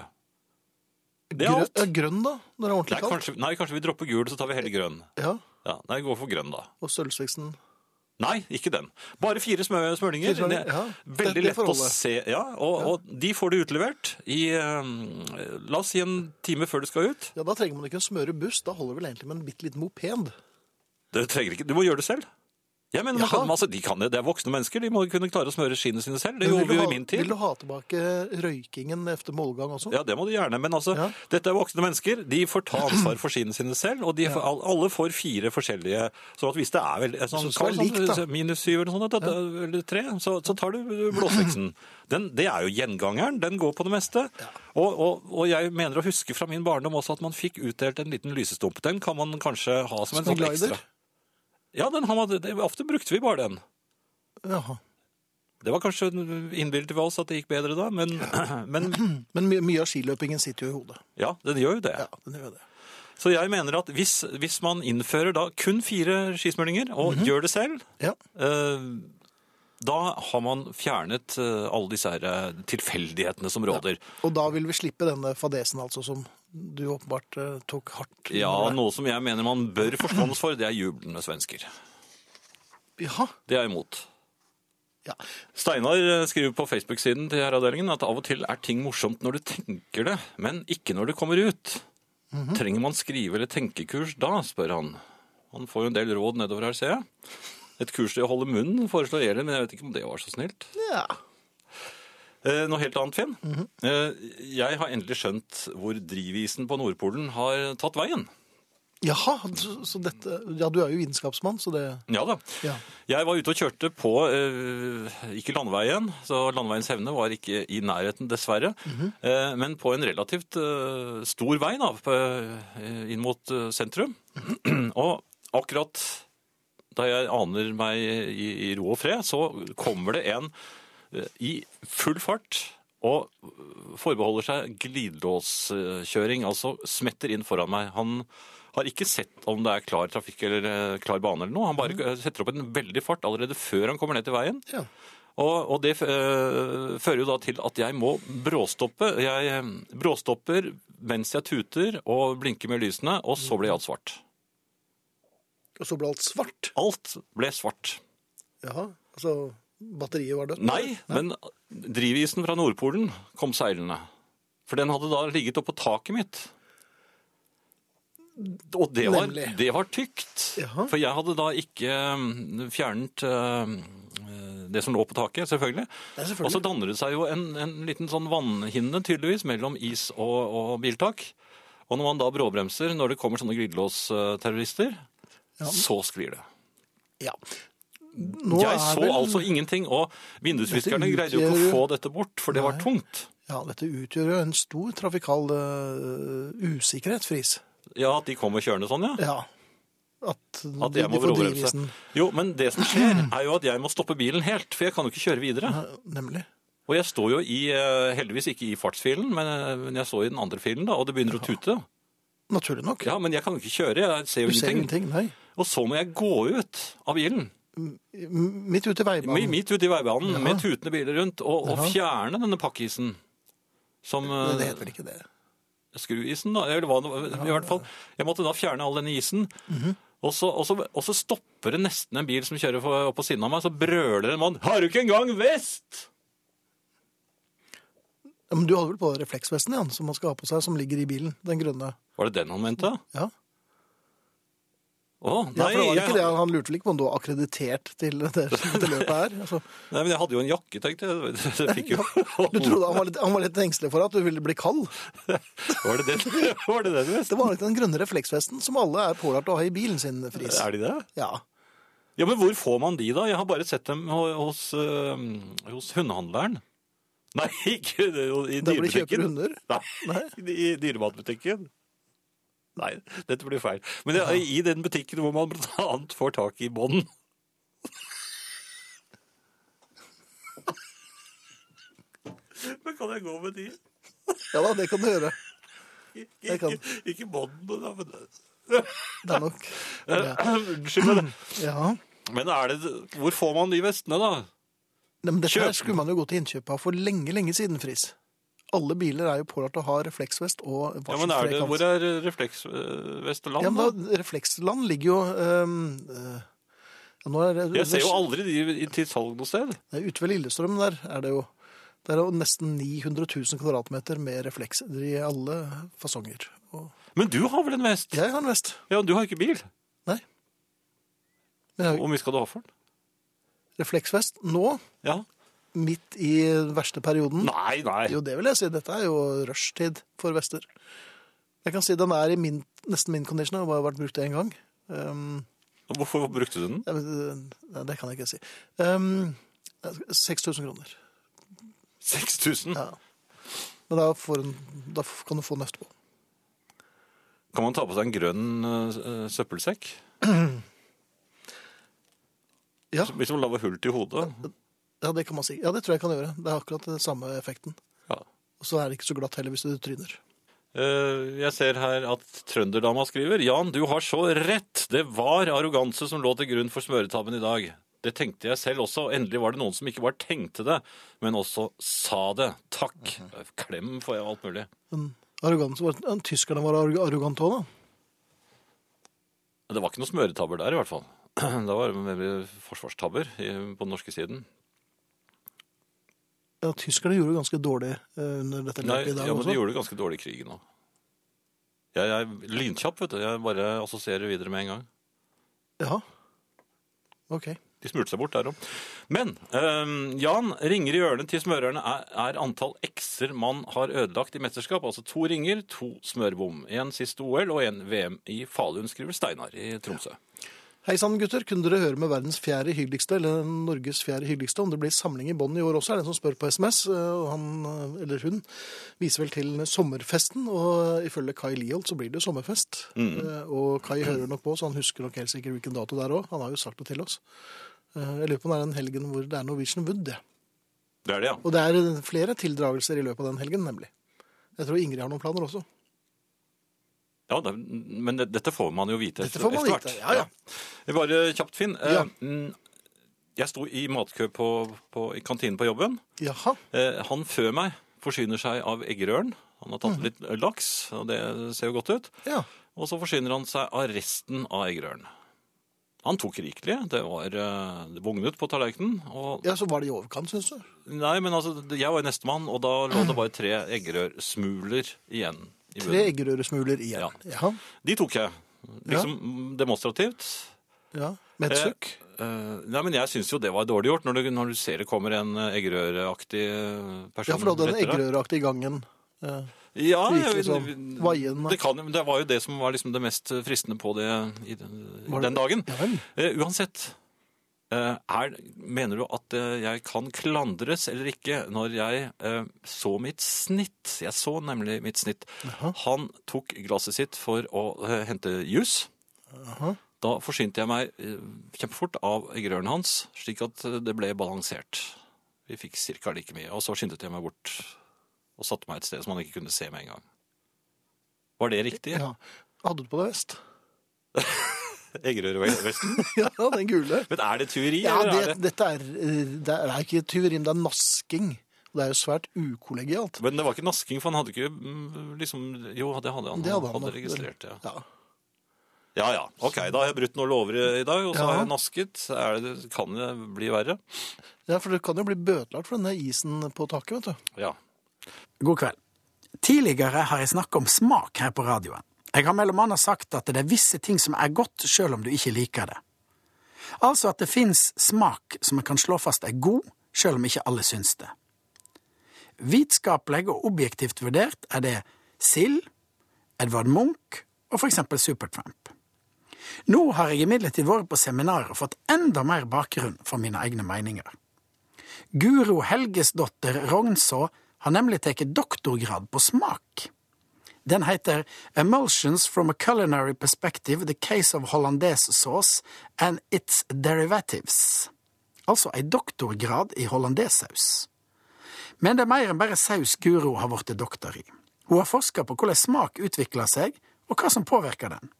B: Det er
A: Grø
B: alt.
A: ja, grønn, da, når det er
B: Nei,
A: ordentlig kaldt.
B: kanskje, nei, kanskje vi dropper gul, så tar vi heller grønn.
A: Ja,
B: Ja, nei, vi går for grønn, da.
A: Og sølvsviksen.
B: Nei, ikke den. Bare fire smø smørninger.
A: Fire smørninger,
B: Det er
A: ja. Det-
B: Veldig
A: det
B: lett å
A: forholdet.
B: se. Ja, og, og de får du utlevert i eh, La oss si en time før du skal ut.
A: Ja, Da trenger man ikke en smøre buss, da holder det vel egentlig med en bitte liten moped.
B: Det trenger ikke, Du må gjøre det selv. Jeg mener, man
A: Jaha.
B: kan, altså, de kan det. det er voksne mennesker. De må kunne klare å smøre skiene sine selv. Det
A: Men vil,
B: gjorde
A: du
B: vi jo
A: ha,
B: i min tid.
A: vil du ha tilbake røykingen etter målgang også?
B: Ja, det må de gjerne. Men altså,
A: Ja.
B: dette er voksne mennesker. De får ta ansvar for skiene sine selv. Og de, får- all- alle får fire forskjellige. Så at hvis det er vel, sånn,
A: Så det skal være
B: sånn-
A: likt, da.
B: minus syv eller, sånt, at- eller tre, så, så tar du blåsveksen. Den, det er jo gjengangeren. Den går på det meste. Og, og, og jeg mener å huske fra min barndom også at man fikk utdelt en liten lysestump. Den kan man kanskje ha som en
A: Som en
B: sånn ekstra.
A: glider?
B: Ja, den har man, det, ofte brukte vi bare den.
A: Jaha.
B: Det var kanskje innbildet ved oss at det gikk bedre da, men, men
A: Men my mye av skiløpingen sitter jo i hodet.
B: ja, den gjør jo det.
A: Ja, den gjør jo det.
B: Så jeg mener at hvis, hvis man innfører da kun fire skismurninger og gjør det selv,
A: Ja.
B: eh, da har man fjernet eh, alle disse her eh, tilfeldighetene som råder.
A: Og da vil vi slippe denne fadesen altså, som du åpenbart eh, tok hardt.
B: Ja, noe som jeg mener man bør forstås for, det er jublende svensker.
A: Jaha.
B: Det er jeg imot.
A: Ja.
B: Steinar eh, skriver på Facebook-siden til herreavdelingen at av og til er ting morsomt når du tenker det, men ikke når det kommer ut. Trenger man skrive- eller tenkekurs da, spør han. Han får jo en del råd nedover her, ser jeg. Et kurs i å holde munnen foreslår Elin, men jeg vet ikke om det var så snilt.
A: ja.
B: Eh, noe helt annet, Finn. eh, jeg har endelig skjønt hvor drivisen på Nordpolen har tatt veien.
A: Jaha, så, så dette Ja, du er jo vitenskapsmann, så det
B: Ja da.
A: Ja.
B: Jeg var ute og kjørte på eh, ikke landveien, så landveiens hevne var ikke i nærheten, dessverre. eh, men på en relativt eh, stor vei da, på, eh, inn mot eh, sentrum. og akkurat da jeg aner meg i, i ro og fred, så kommer det en eh, i full fart og forbeholder seg glidelåskjøring, altså smetter inn foran meg. Han har ikke sett om det er klar trafikk eller eh, klar bane eller noe. Han bare eh, setter opp en veldig fart allerede før han kommer ned til veien.
A: Ja.
B: Og, og det eh, fører jo da til at jeg må bråstoppe. Jeg eh, bråstopper mens jeg tuter og blinker med lysene, og så blir alt svart.
A: Og så ble alt svart.
B: Alt ble svart.
A: Jaha. Altså batteriet var dødt?
B: Nei, men drivisen fra Nordpolen kom seilende. For den hadde da ligget oppå taket mitt. Og det var,
A: Nemlig.
B: det var tykt.
A: Jaha.
B: For jeg hadde da ikke mm, fjernet eh, det som lå på taket, selvfølgelig.
A: Ja, selvfølgelig.
B: Og så danner det seg jo en, en liten sånn vannhinne, tydeligvis, mellom is og, og biltak. Og når man da bråbremser, når det kommer sånne glidelåsterrorister, så sklir det.
A: Ja. Nå
B: jeg
A: er
B: så
A: vel-
B: altså ingenting, og vindusviskerne
A: Dette
B: greide jo ikke å
A: utgjør-
B: få dette bort, for det var tungt.
A: Ja, dette utgjør jo en stor trafikal eh, usikkerhet, Friis.
B: Ja, at de kommer kjørende sånn, ja.
A: Ja. At,
B: At jeg må bråbremse. Jo, men det som skjer, er jo at jeg må stoppe bilen helt, for jeg kan jo ikke kjøre videre.
A: Ja, Nemlig.
B: Og jeg står jo i, eh, heldigvis ikke i fartsfilen, men eh, men jeg står i den andre filen, da, og det begynner å tute.
A: Naturlig nok.
B: Ja, men jeg kan jo ikke kjøre, jeg ser
A: du
B: jo
A: ser
B: ingenting.
A: ingenting. Nei.
B: Og så må jeg gå ut av bilen,
A: M- Midt ute i
B: mi-
A: veibanen.
B: midt ute i veibanen, med tutende biler rundt, og, og fjerne denne pakkisen. Som,
A: Men
B: eh,
A: Det heter vel ikke det.
B: skruisen, da, eller hva det var. I hvert fall, jeg måtte da fjerne all denne isen.
A: Mhm.
B: og, så, og, så, og så stopper det nesten en bil som kjører for- opp på siden av meg, så brøler en mann 'Har du ikke engang vest?'
A: Ja, men du hadde vel på deg refleksvesten igjen, som man skal ha på seg, som ligger i bilen. Den grønne.
B: Var det den han mente?
A: Ja,
B: Å,
A: ja for
B: nei,
A: det var
B: jeg,
A: ikke det. Han lurte vel ikke på om du var akkreditert til det, til løpet her. Altså,
B: nei, men jeg hadde jo en jakke, tenkte jeg. jeg. Fikk jo.
A: du trodde han var, litt, han var litt engstelig for at du ville bli kald.
B: Var det den, var det den du
A: Det var nok den grønne refleksvesten som alle er pålært å ha i bilen sin, Friis.
B: Er de det?
A: Ja.
B: Ja, men hvor får man de, da? Jeg har bare sett dem ho- hos, øh, hos hundehandleren. Nei, ikke det, jo, i
A: Der hvor de kjøper
B: dyrebutikken.
A: hunder?
B: Nei, i dyrematbutikken. Nei, dette blir feil. Men det er i den butikken hvor man blant annet får tak i bånd. Men kan jeg gå med de?
A: ja da, det kan du gjøre. Jeg kan.
B: Ikke, ikke båndene, da. Men,
A: Det er nok Ja.
B: unnskyld, men,
A: Ja.
B: men er det, hvor får man de vestene, da?
A: Nei, men dette
B: Kjøp.
A: her skulle man jo gå til innkjøp av for lenge, lenge siden, Friis. Alle biler er jo pålært å ha refleksvest og
B: Ja, men er det,
A: varseltrekant.
B: Hvor er refleksvesteland?
A: Ja,
B: da?
A: men da, refleksland ligger jo øhm, øh, ja, nå er det,
B: Jeg ser jo aldri de i- til salg noe sted.
A: Det er ute ved Lillestrøm der er det jo. Det er jo nesten 900 000 kvadratmeter med reflekser i alle fasonger. Og
B: Men du har vel en vest?
A: jeg har en vest.
B: Ja, men du har ikke bil.
A: Nei. Men jeg har
B: Hvor mye skal du ha for den?
A: refleksvest nå,
B: Ja.
A: midt i den verste perioden.
B: Nei, nei.
A: Jo, det vil jeg si. Dette er jo rushtid for vester. Jeg kan si den er i min, nesten min condition. Den har bare vært brukt én gang. Um,
B: Hvorfor brukte du den?
A: jeg vet- nei, eh, det kan jeg ikke si. Um, 6000 kroner.
B: 6000?
A: Ja. Men da, får en, da kan du få den etterpå.
B: Kan man ta på seg en grønn øh, øh, søppelsekk?
A: Ja.
B: Som- Hvis man lager hull til hodet?
A: Ja, det kan man si. Ja, det tror jeg kan gjøre. Det er akkurat den samme effekten.
B: Ja.
A: Og så er det ikke så glatt heller hvis du tryner.
B: Eh, Jeg ser her at Trønderdama skriver Jan, du har så rett. Det var arroganse som lå til grunn for smøretabben i dag. Det tenkte jeg selv også. Endelig var det noen som ikke bare tenkte det, men også sa det. Takk. Klem får jeg og alt mulig.
A: Men arroganse var ja, Tyskerne var arro- arrogante òg, da.
B: Men Det var ikke noen smøretabber der, i hvert fall. Da var det mer forsvarstabber i- på den norske siden.
A: Ja, tyskerne gjorde det ganske dårlig eh, under dette
B: Nei,
A: løpet i dag
B: ja, men de
A: også.
B: gjorde det ganske dårlig i krigen òg. Jeg er lynkjapp, vet du. Jeg bare assosierer videre med en gang.
A: Ja. OK.
B: De smurte seg bort der òg. Men ehm, Jan, ringer i ørene til smørerne er, er antall X-er man har ødelagt i mesterskap. Altså to ringer, to smørbom. En siste OL og en VM i Falun, skriver Steinar i Tromsø.
A: Hei sann, gutter. Kunne dere høre med verdens fjerde hyggeligste, eller Norges fjerde hyggeligste, om det blir samling i bånn i år også? Er det en som spør på SMS. eh, Og han, eh, eller hun, viser vel til sommerfesten. Og ifølge Kai Liholt så blir det sommerfest. Eh, Og Kai hører nok på, så han husker nok helt sikkert hvilken dato det er òg. Han har jo sagt det til oss. Eh, Jeg lurer på om det er den helgen hvor det er Norwegian Wood, det.
B: Det er det, ja.
A: Og det er flere tildragelser i løpet av den helgen, nemlig. Jeg tror Ingrid har noen planer også.
B: Ja, det, men det, dette får man jo vite
A: Dette får man
B: etter hvert.
A: vite, ja, ja.
B: Ja. Bare kjapt, Finn. Eh,
A: Ja.
B: mm, Jeg sto i matkø på, på, i kantinen på jobben.
A: Jaha.
B: Eh, Han før meg forsyner seg av eggerøren. Han har tatt
A: Mm.
B: litt laks, og det ser jo godt ut.
A: Ja.
B: Og så forsyner han seg av resten av eggerøren. Han tok rikelig. Det var eh, det bugnet på tallerkenen. Og,
A: ja, så var det i overkant, syns du?
B: Nei, men altså, jeg var jo nestemann, og da lå det bare tre eggerørsmuler igjen. i
A: Tre
B: bunnen.
A: eggerøresmuler igjen.
B: Ja.
A: Ja.
B: De tok jeg. Liksom demonstrativt.
A: ja. Med et
B: Eh,
A: sukk.
B: eh, nei, men jeg syns jo det var dårlig gjort, når du, når du ser det kommer en eh, eggerøraktig eh, person
A: Ja, for du hadde den
B: etter deg.
A: eggerøraktige gangen. Eh,
B: Ja,
A: Det gikk
B: jeg-
A: liksom vaiende.
B: det, kan, jo- men det var jo det som var liksom det mest fristende på det i den, i
A: Var det-
B: den dagen.
A: Ja vel.
B: Eh, uansett, eh, er, mener du at eh, jeg kan klandres eller ikke når jeg eh, så mitt snitt? Jeg så nemlig mitt snitt. Han tok glasset sitt for å eh, hente jus. Da forsynte jeg meg eh, kjempefort av eggerøren hans, slik at eh, det ble balansert. Vi fikk cirka like mye, og så skyndte jeg meg bort og satte meg et sted som han ikke kunne se med en gang. Var det riktig?
A: ja. Hadde du på deg vest?
B: Eggerørvesten?
A: ja, den gule.
B: Men er det tyveri,
A: Ja,
B: eller
A: det,
B: er det
A: dette er, eh, det er ikke tyveri, men det er nasking. Det er jo svært ukollegialt.
B: Men det var ikke nasking, for han hadde ikke mm, liksom Jo, det hadde han.
A: Det hadde han
B: hadde
A: nok.
B: registrert, ja.
A: Ja.
B: Ja ja. Ok, da har jeg brutt noen lover i i dag, og så
A: Ja.
B: har jeg nasket. Er det, kan det bli verre?
A: ja, for det kan jo bli bøtelagt for denne isen på taket, vet du.
B: Ja.
D: God kveld. Tidligere har jeg snakket om smak her på radioen. Jeg har mellom annet sagt at det er visse ting som er godt selv om du ikke liker det. Altså at det finnes smak som en kan slå fast er god, selv om ikke alle syns det. Vitskapelig og objektivt vurdert er det sild, Edvard Munch og for eksempel Supertramp. Nå har jeg imidlertid vært på seminar og fått enda mer bakgrunn for mine egne meninger. Guro Helgesdotter Rognså har nemlig tatt doktorgrad på smak. Den heter Emulsions from a Culinary Perspective, The Case of Hollandaise Sauce and Its Derivatives. Altså ei doktorgrad i hollandesaus. Men det er mer enn bare saus Guro har blitt doktor i. Hun har forska på hvordan smak utvikler seg, og hva som påvirker den.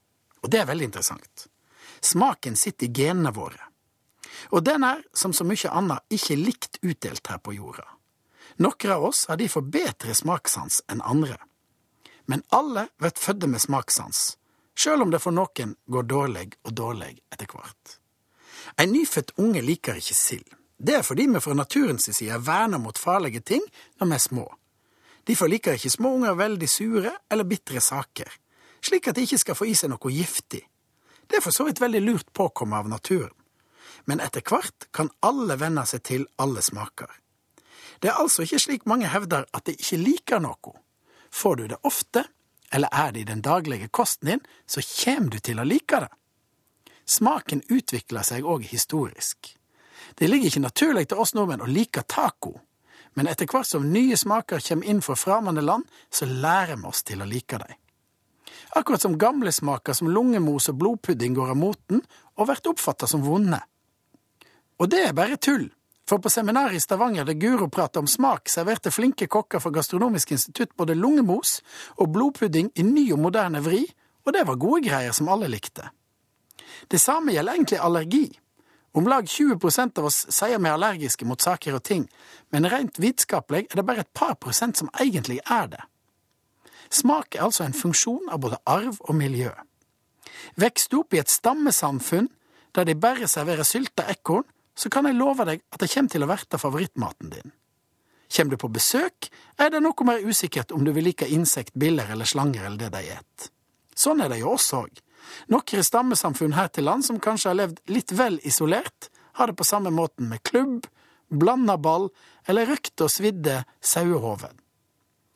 D: Og det er veldig interessant. Smaken sitter i genene våre. Og den er, som så mye annet, ikke likt utdelt her på jorda. Noen av oss har derfor bedre smakssans enn andre. Men alle blir fødde med smakssans, sjøl om det for noen går dårlig og dårlig etter hvert. En nyfødt unge liker ikke sild. Det er fordi vi fra naturens side verner mot farlige ting når vi er små. Derfor liker ikke små unger veldig sure eller bitre saker, slik at de ikke skal få i seg noe giftig. Det er for så vidt veldig lurt påkommet av naturen. Men etter hvert kan alle venne seg til alle smaker. Det er altså ikke slik mange hevder at de ikke liker noe. Får du det ofte, eller er det i den daglige kosten din, så kommer du til å like det. Smaken utvikler seg òg historisk. Det ligger ikke naturlig til oss nordmenn å like taco, men etter hvert som nye smaker kommer inn fra fremmede land, så lærer vi oss til å like dem. Akkurat som gamle smaker som lungemos og blodpudding går av moten og blir oppfatta som vonde. Og det er bare tull, for på seminaret i Stavanger der Guro prata om smak, serverte flinke kokker fra Gastronomisk institutt både lungemos og blodpudding i ny og moderne vri, og det var gode greier som alle likte. Det samme gjelder egentlig allergi. Om lag 20 av oss sier vi er allergiske mot saker og ting, men rent vitenskapelig er det bare et par prosent som egentlig er det. Smak er altså en funksjon av både arv og miljø. Vokser du opp i et stammesamfunn der de bare serverer sylta ekorn, så kan jeg love deg at det kommer til å verte favorittmaten din. Kommer du på besøk, er det noe mer usikkert om du vil like insekt, biller eller slanger eller det de et. Sånn er det jo oss òg. Noen stammesamfunn her til land som kanskje har levd litt vel isolert, har det på samme måten med klubb, blanda ball eller røkte og svidde sauehoven.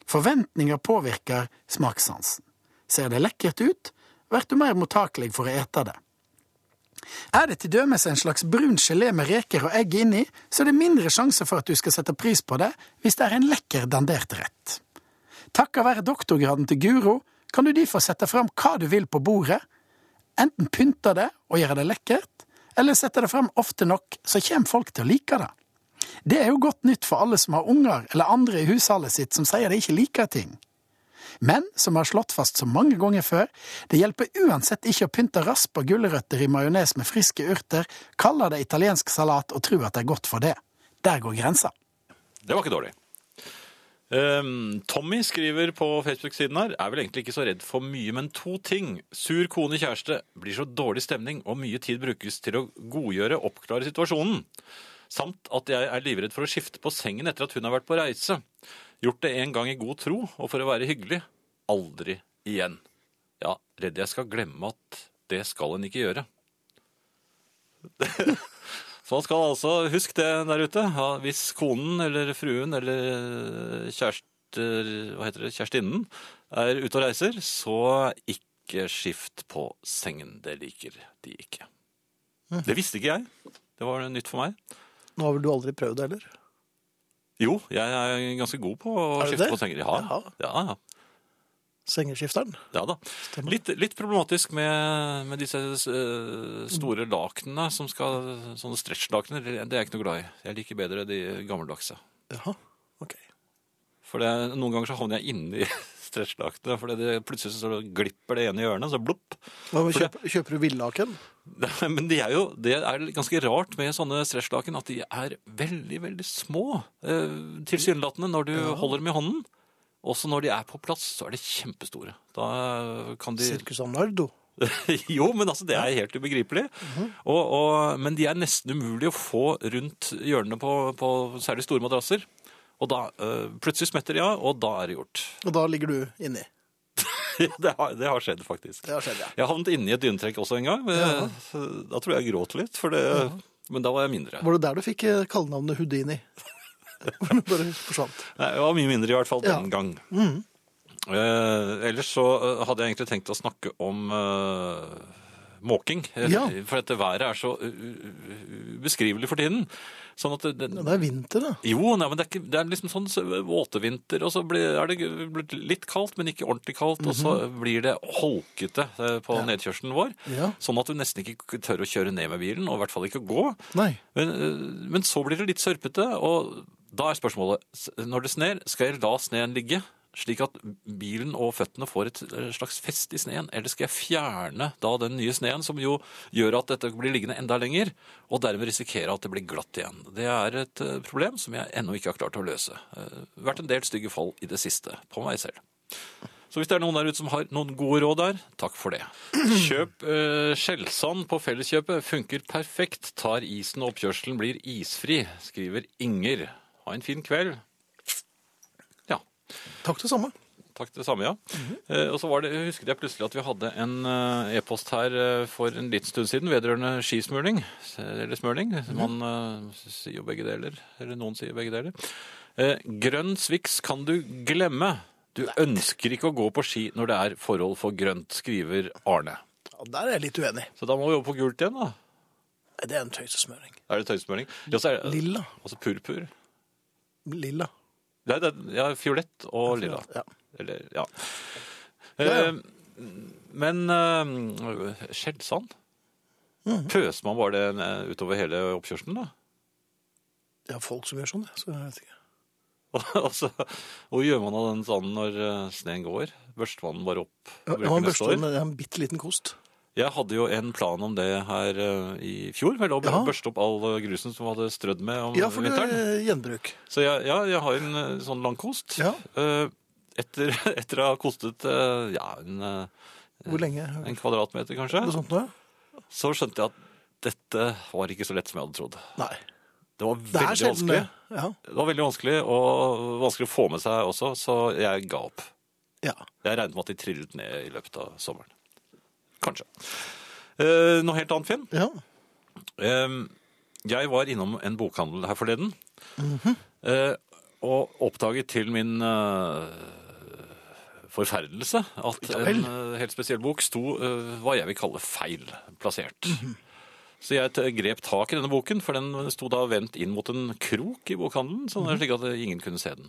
D: Forventninger påvirker smakssansen. Ser det lekkert ut, blir du mer mottakelig for å ete det. Er det til dømes en slags brun gelé med reker og egg inni, så er det mindre sjanse for at du skal sette pris på det hvis det er en lekker dandert rett. Takket være doktorgraden til Guro kan du derfor sette fram hva du vil på bordet. Enten pynte det og gjøre det lekkert, eller sette det fram ofte nok, så kommer folk til å like det. Det er jo godt nytt for alle som har unger eller andre i husholdet sitt som sier de ikke liker ting. Men, som har slått fast så mange ganger før, det hjelper uansett ikke å pynte raspa gulrøtter i majones med friske urter, kalle det italiensk salat og tro at det er godt for det. Der går grensa.
B: Det var ikke dårlig. Ehm, Tommy skriver på Facebook-siden her Er vel egentlig ikke så redd for mye, men to ting. Sur kone kjæreste blir så dårlig stemning, og mye tid brukes til å godgjøre oppklare situasjonen. Samt at jeg er livredd for å skifte på sengen etter at hun har vært på reise. Gjort det en gang i god tro, og for å være hyggelig aldri igjen. Ja, redd jeg skal glemme at det skal en ikke gjøre. Så man skal altså huske det der ute. Ja, hvis konen eller fruen eller kjærester, hva heter det, kjærestinnen er ute og reiser, så ikke skift på sengen. Det liker de ikke.
A: Hm.
B: Det visste ikke jeg. Det var nytt for meg.
A: Nå har vel du aldri prøvd det heller?
B: Jo, jeg er ganske god på å
A: Er du
B: skifte
A: det?
B: på senger. Ja, ja, ja.
A: Sengeskifteren?
B: Ja da. Litt, litt problematisk med, med disse eh, store lakenene som skal Sånne stretchlakener. Det er jeg ikke noe glad i. Jeg liker bedre de gammeldagse.
A: Jaha, ok.
B: For det, noen ganger så havner jeg inni stretchlakenet, for det, plutselig så glipper det ene hjørnet, så blopp.
A: Hva med
B: For det-
A: kjøp, kjøper du villaken?
B: Nei, Men det er jo det er ganske rart med sånne stretchlaken, at de er veldig, veldig små. Eh, Tilsynelatende når du holder dem i hånden. Også når de er på plass, så er de kjempestore. Da kan de
A: Circus Arnardo?
B: jo, men altså, det er helt ubegripelig. og, og, men de er nesten umulig å få rundt hjørnene på, på særlig store madrasser. Og da eh, plutselig smetter de av, og da er det gjort.
A: Og da ligger du inni.
B: det, har, det har skjedd, faktisk.
A: Det har skjedd, ja.
B: Jeg havnet inni et dynetrekk også en gang. men, eh, Da tror jeg jeg gråt litt, for det, men da var jeg mindre.
A: Var det der du fikk eh, kallenavnet Houdini? Hvor du bare forsvant.
B: Nei, Jeg var mye mindre i hvert fall
A: Ja.
B: den gang. Eh, ellers så eh, hadde jeg egentlig tenkt å snakke om eh, måking. Eh,
A: Ja.
B: For dette været er så eh, u- u- ubeskrivelig for tiden. Sånn at det,
A: Men Det er vinter, da.
B: jo, nei, men det er, ikke, det er liksom sånn så- våtevinter, og så blir, er det g- blitt litt kaldt, men ikke ordentlig kaldt, og så blir det holkete eh, på nedkjørselen vår,
A: Ja.
B: sånn at du nesten ikke tør å kjøre ned med bilen, og i hvert fall ikke gå.
A: Nei.
B: Men, eh, men så blir det litt sørpete, og da er spørsmålet, s- når det sner, skal jeg la sneen ligge, slik at bilen og føttene får et eh, slags fest i sneen, eller skal jeg fjerne da den nye sneen, som jo gjør at dette blir liggende enda lenger, og dermed risikere at det blir glatt igjen. Det er et eh, problem som jeg ennå ikke har klart å løse. Eh, Vært en del stygge fall i det siste, på meg selv. Så hvis det er noen der ute som har noen gode råd der, takk for det. Kjøp eh, skjellsand på felleskjøpet. Funker perfekt. Tar isen og oppkjørselen blir isfri, skriver Inger. Ha en fin kveld. Ja.
A: Takk det samme.
B: Takk det samme, ja.
A: Mhm.
B: Eh, og så var det, husket jeg plutselig at vi hadde en eh, e-post her eh, for en liten stund siden vedrørende skismurning. eh, Eller smurning.
A: Mhm.
B: Man eh, sier jo begge deler. Eller noen sier begge deler. Eh, grønn sviks kan du glemme. Du ønsker ikke å gå på ski når det er forhold for grønt, skriver Arne.
A: Ja, der er jeg litt uenig.
B: Så da må vi over på gult igjen, da.
A: Nei, det er en tøysesmøring.
B: Er det tøysmurning? Ja, så er det-
A: Lilla.
B: Og så purpur.
A: Lilla.
B: Nei, det er ja, fiolett og lilla.
A: Ja.
B: Eller, ja.
A: ja.
B: Eh, men eh, skjellsand?
A: Mhm.
B: Pøser man bare det ned utover hele oppkjørselen, da?
A: Jeg har folk som gjør sånn, jeg, så jeg vet ikke.
B: Og så, hva Altså, gjør man av den sanden når eh, sneen går? Børster man den bare opp? og
A: Jeg
B: bruker
A: har en
B: neste
A: børste
B: år?
A: med en bitte liten kost.
B: Jeg hadde jo en plan om det her eh, i fjor, vel, å
A: Ja.
B: børste opp all eh, grusen som hadde strødd med om
A: Ja, for det
B: vinteren.
A: er gjenbruk.
B: Så jeg, ja, jeg har en eh, sånn langkost.
A: Ja.
B: Eh, Etter, etter å ha kostet eh, ja, en, eh,
A: Hvor lenge?
B: en kvadratmeter, kanskje,
A: Noe sånt noe?
B: så skjønte jeg at dette var ikke så lett som jeg hadde trodd.
A: Nei.
B: Det var
A: Det
B: veldig
A: er sjelden
B: vanskelig.
A: det. Ja.
B: Det var veldig vanskelig, og vanskelig å få med seg også, så jeg ga opp.
A: ja.
B: Jeg regnet med at de trillet ned i løpet av sommeren. Kanskje. Eh, noe helt annet, Finn.
A: ja.
B: Ehm, jeg var innom en bokhandel her forleden,
A: Mhm.
B: eh, og oppdaget til min eh, forferdelse at
A: Ja vel.
B: en eh, helt spesiell bok sto eh, hva jeg vil kalle feil plassert.
A: Mhm.
B: Så jeg t- grep tak i denne boken, for den sto da vendt inn mot en krok i bokhandelen, sånn
A: Mhm.
B: slik at ingen kunne se den.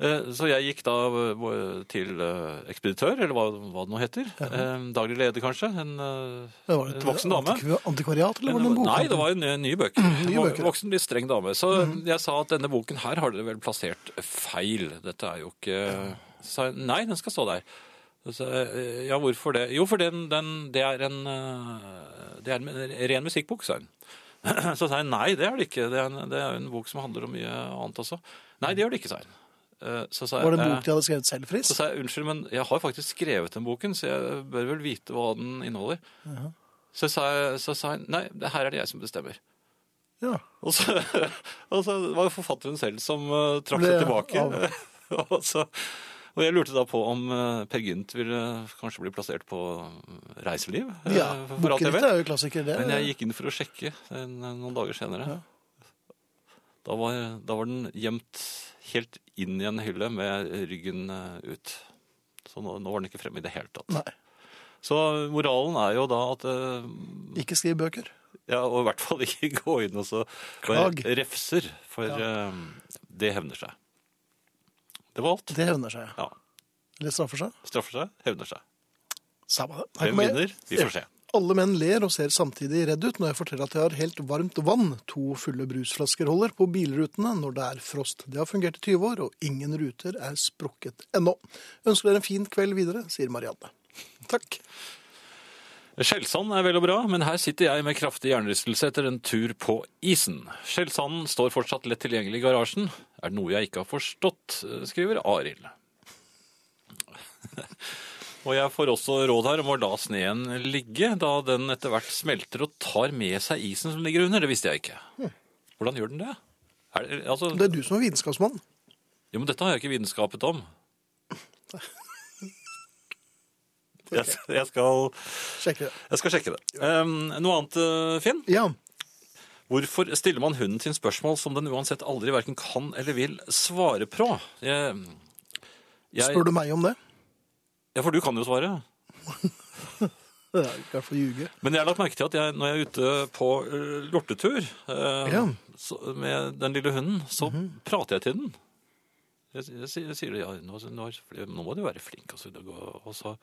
B: Eh, Så jeg gikk da eh, til eh, ekspeditør, eller hva, hva det nå heter. Eh, Daglig leder, kanskje. En, eh,
A: Det var et
B: en voksen dame.
A: antikva- Antikvariat, eller var det en bok?
B: Nei, det var jo nye, nye bøker.
A: Nye bøker, Mm. ja.
B: Voksen, litt streng dame. Så jeg sa at denne boken her har dere vel plassert feil. Dette er jo ikke Så sa jeg nei, den skal stå der. Så, sa jeg, eh, ja, hvorfor det? Jo, for den, den, det er en eh, Det er en ren musikkbok, sa hun. Så sa jeg nei, det er det ikke. Det er, en, det er jo en bok som handler om mye annet også. Nei, det gjør det ikke, sa hun. Eh, Så sa jeg,
A: Var det en
B: «Eh,
A: bok de hadde skrevet selv, Fritz?
B: så sa jeg unnskyld, men jeg har faktisk skrevet den boken, så jeg bør vel vite hva den inneholder. Så sa jeg, så sa jeg nei, det her er det jeg som bestemmer.
A: Ja.
B: Og så, og så var det forfatteren selv som eh, trakk
A: Ble
B: seg tilbake.
A: av-
B: og, så, og jeg lurte da på om eh, Per Gynt ville kanskje bli plassert på Reiseliv. eh,
A: ja.
B: for alt jeg
A: Bokritt
B: vet.
A: er jo klassiker, det.
B: Men jeg gikk inn for å sjekke en, noen dager senere. Da, var, da var den gjemt helt inn i en hylle med ryggen eh, ut. Så nå, nå var den ikke fremme i det hele tatt.
A: Nei.
B: Så moralen er jo da at eh,
A: Ikke skriv bøker.
B: Ja, og i hvert fall ikke gå inn og så bare
A: Klag.
B: refser, for eh, det hevner seg. Det var alt.
A: Det hevner seg.
B: Ja.
A: Eller straffer seg.
B: Straffer seg, hevner seg.
A: Samme det. Her
B: Hvem
A: kommer jeg-
B: vinner? Vi får se.
A: Alle menn ler og ser samtidig redd ut når jeg forteller at jeg har helt varmt vann to fulle brusflasker holder på bilrutene når det er frost. Det har fungert i 20 år, og ingen ruter er sprukket ennå. Ønsker dere en fin kveld videre, sier Marianne.
B: Takk. Skjellsand er vel og bra, men her sitter jeg med kraftig hjernerystelse etter en tur på isen. Skjellsanden står fortsatt lett tilgjengelig i garasjen. Er det noe jeg ikke har forstått, skriver Arild. Og jeg får også råd her om å la sneen ligge, da den etter hvert smelter og tar med seg isen som ligger under. Det visste jeg ikke. Hvordan gjør den det? Er, det- altså,
A: Det er du som er vitenskapsmann.
B: jo, men dette har jeg ikke vitenskapet om. Jeg, jeg, skal,
A: Sjekke det.
B: jeg skal sjekke det. Um, noe annet, eh, Finn?
A: Ja.
B: Hvorfor stiller man hunden sin spørsmål som den uansett aldri hverken kan eller vil svare på? Jeg, jeg,
A: Spør du meg om det?
B: ja, for du kan jo svare.
A: Det er i hvert fall ljuge.
B: Men jeg har lagt merke til at jeg, når jeg er ute på øh, lortetur øh,
A: Ja.
B: så, med den lille hunden, så prater jeg til den. Jeg, jeg, sier- jeg sier ja, nå, nå, er- nå må du være flink. Og så, og så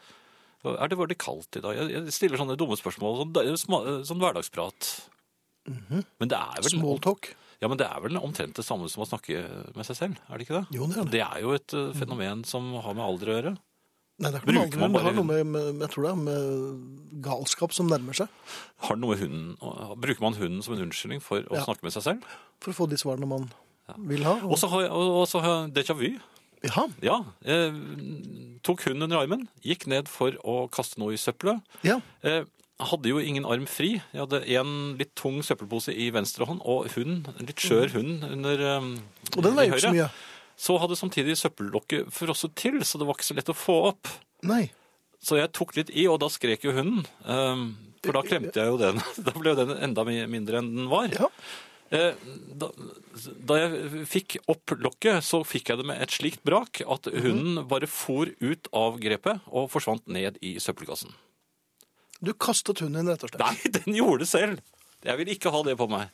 B: er det veldig kaldt i dag. Jeg, jeg stiller sånne dumme spørsmål, sånn, det er jo sma- sånn hverdagsprat. Men det er vel
A: Smalltalk.
B: Ja, men det er vel omtrent det samme som å snakke med seg selv, er det ikke det?
A: Jo, det er det.
B: Det er jo et eh, fenomen som har med alder å gjøre.
A: Nei, det er ikke noe
B: Bruker man
A: annet. Det har
B: bare-
A: noe med, med, jeg tror det er med galskap som nærmer seg.
B: Har det noe med hunden, å- bruker man hunden som en unnskyldning for å
A: Ja.
B: snakke med seg selv?
A: For å få de svarene man vil ha.
B: Og så har jeg og- og så har jeg déjà vu.
A: Ja,
B: Ja, eh, tok hunden under armen, gikk ned for å kaste noe i søppelet.
A: ja.
B: Eh, hadde jo ingen arm fri. Jeg hadde en litt tung søppelpose i venstre hånd, og hund, en litt skjør hund under eh,
A: Mm. Og den
B: i
A: veier jo ikke så
B: høyre.
A: mye.
B: Så hadde samtidig søppellokket frosset til, så det var ikke så lett å få opp.
A: Nei.
B: Så jeg tok litt i, og da skrek jo hunden. ehm, For da klemte jeg jo den. Da ble jo den enda mi- mindre enn den var.
A: Ja.
B: Eh, Da, da jeg fikk opp lokket, så fikk jeg det med et slikt brak at hunden bare for ut av grepet og forsvant ned i søppelkassen.
A: Du kastet hunden din, rett og slett.
B: Nei, den gjorde det selv! Jeg vil ikke ha det på meg.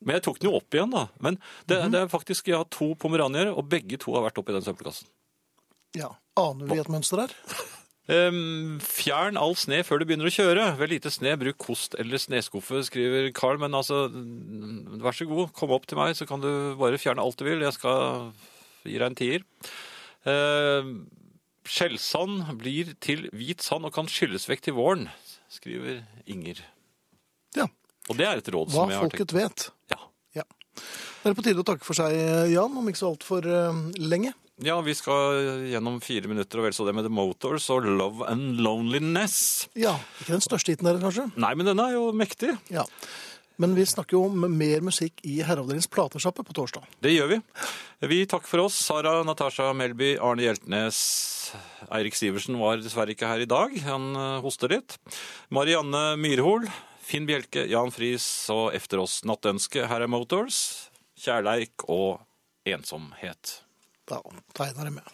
B: Men jeg tok den jo opp igjen, da. Men det, det er faktisk, jeg har to pomeranier, og begge to har vært oppi den søppelkassen.
A: Ja. Aner vi et mønster her?
B: Ehm, fjern all sne før du begynner å kjøre. Ved lite sne, bruk kost eller sneskuffe, skriver Carl. Men altså, mm, vær så god, kom opp til meg, så kan du bare fjerne alt du vil. Jeg skal gi deg en tier. Ehm, Skjellsand blir til hvit sand og kan skylles vekk til våren, skriver Inger.
A: Ja.
B: Og det er et råd
A: Hva
B: som jeg har tenkt.
A: folket vet.
B: Ja.
A: Ja. Det er på tide å takke for seg, Jan, om ikke så altfor uh, lenge.
B: ja, vi skal gjennom fire minutter og vel så det med The Motors og Love and Loneliness.
A: Ja, Ikke den største hiten deres, kanskje?
B: Nei, men denne er jo mektig.
A: Ja. Men vi snakker jo om mer musikk i Herreavdelingens platesjappe på torsdag.
B: Det gjør vi. Vi takker for oss. Sara Natasha Melby, Arne Hjeltnes, Eirik Sivertsen var dessverre ikke her i dag. Han eh, hoster litt. Marianne Myrhol, Finn Bjelke, Jan Friis og efter oss Nattønske. Her er Motors, Kjærleik og Ensomhet.
A: Da tegner jeg med.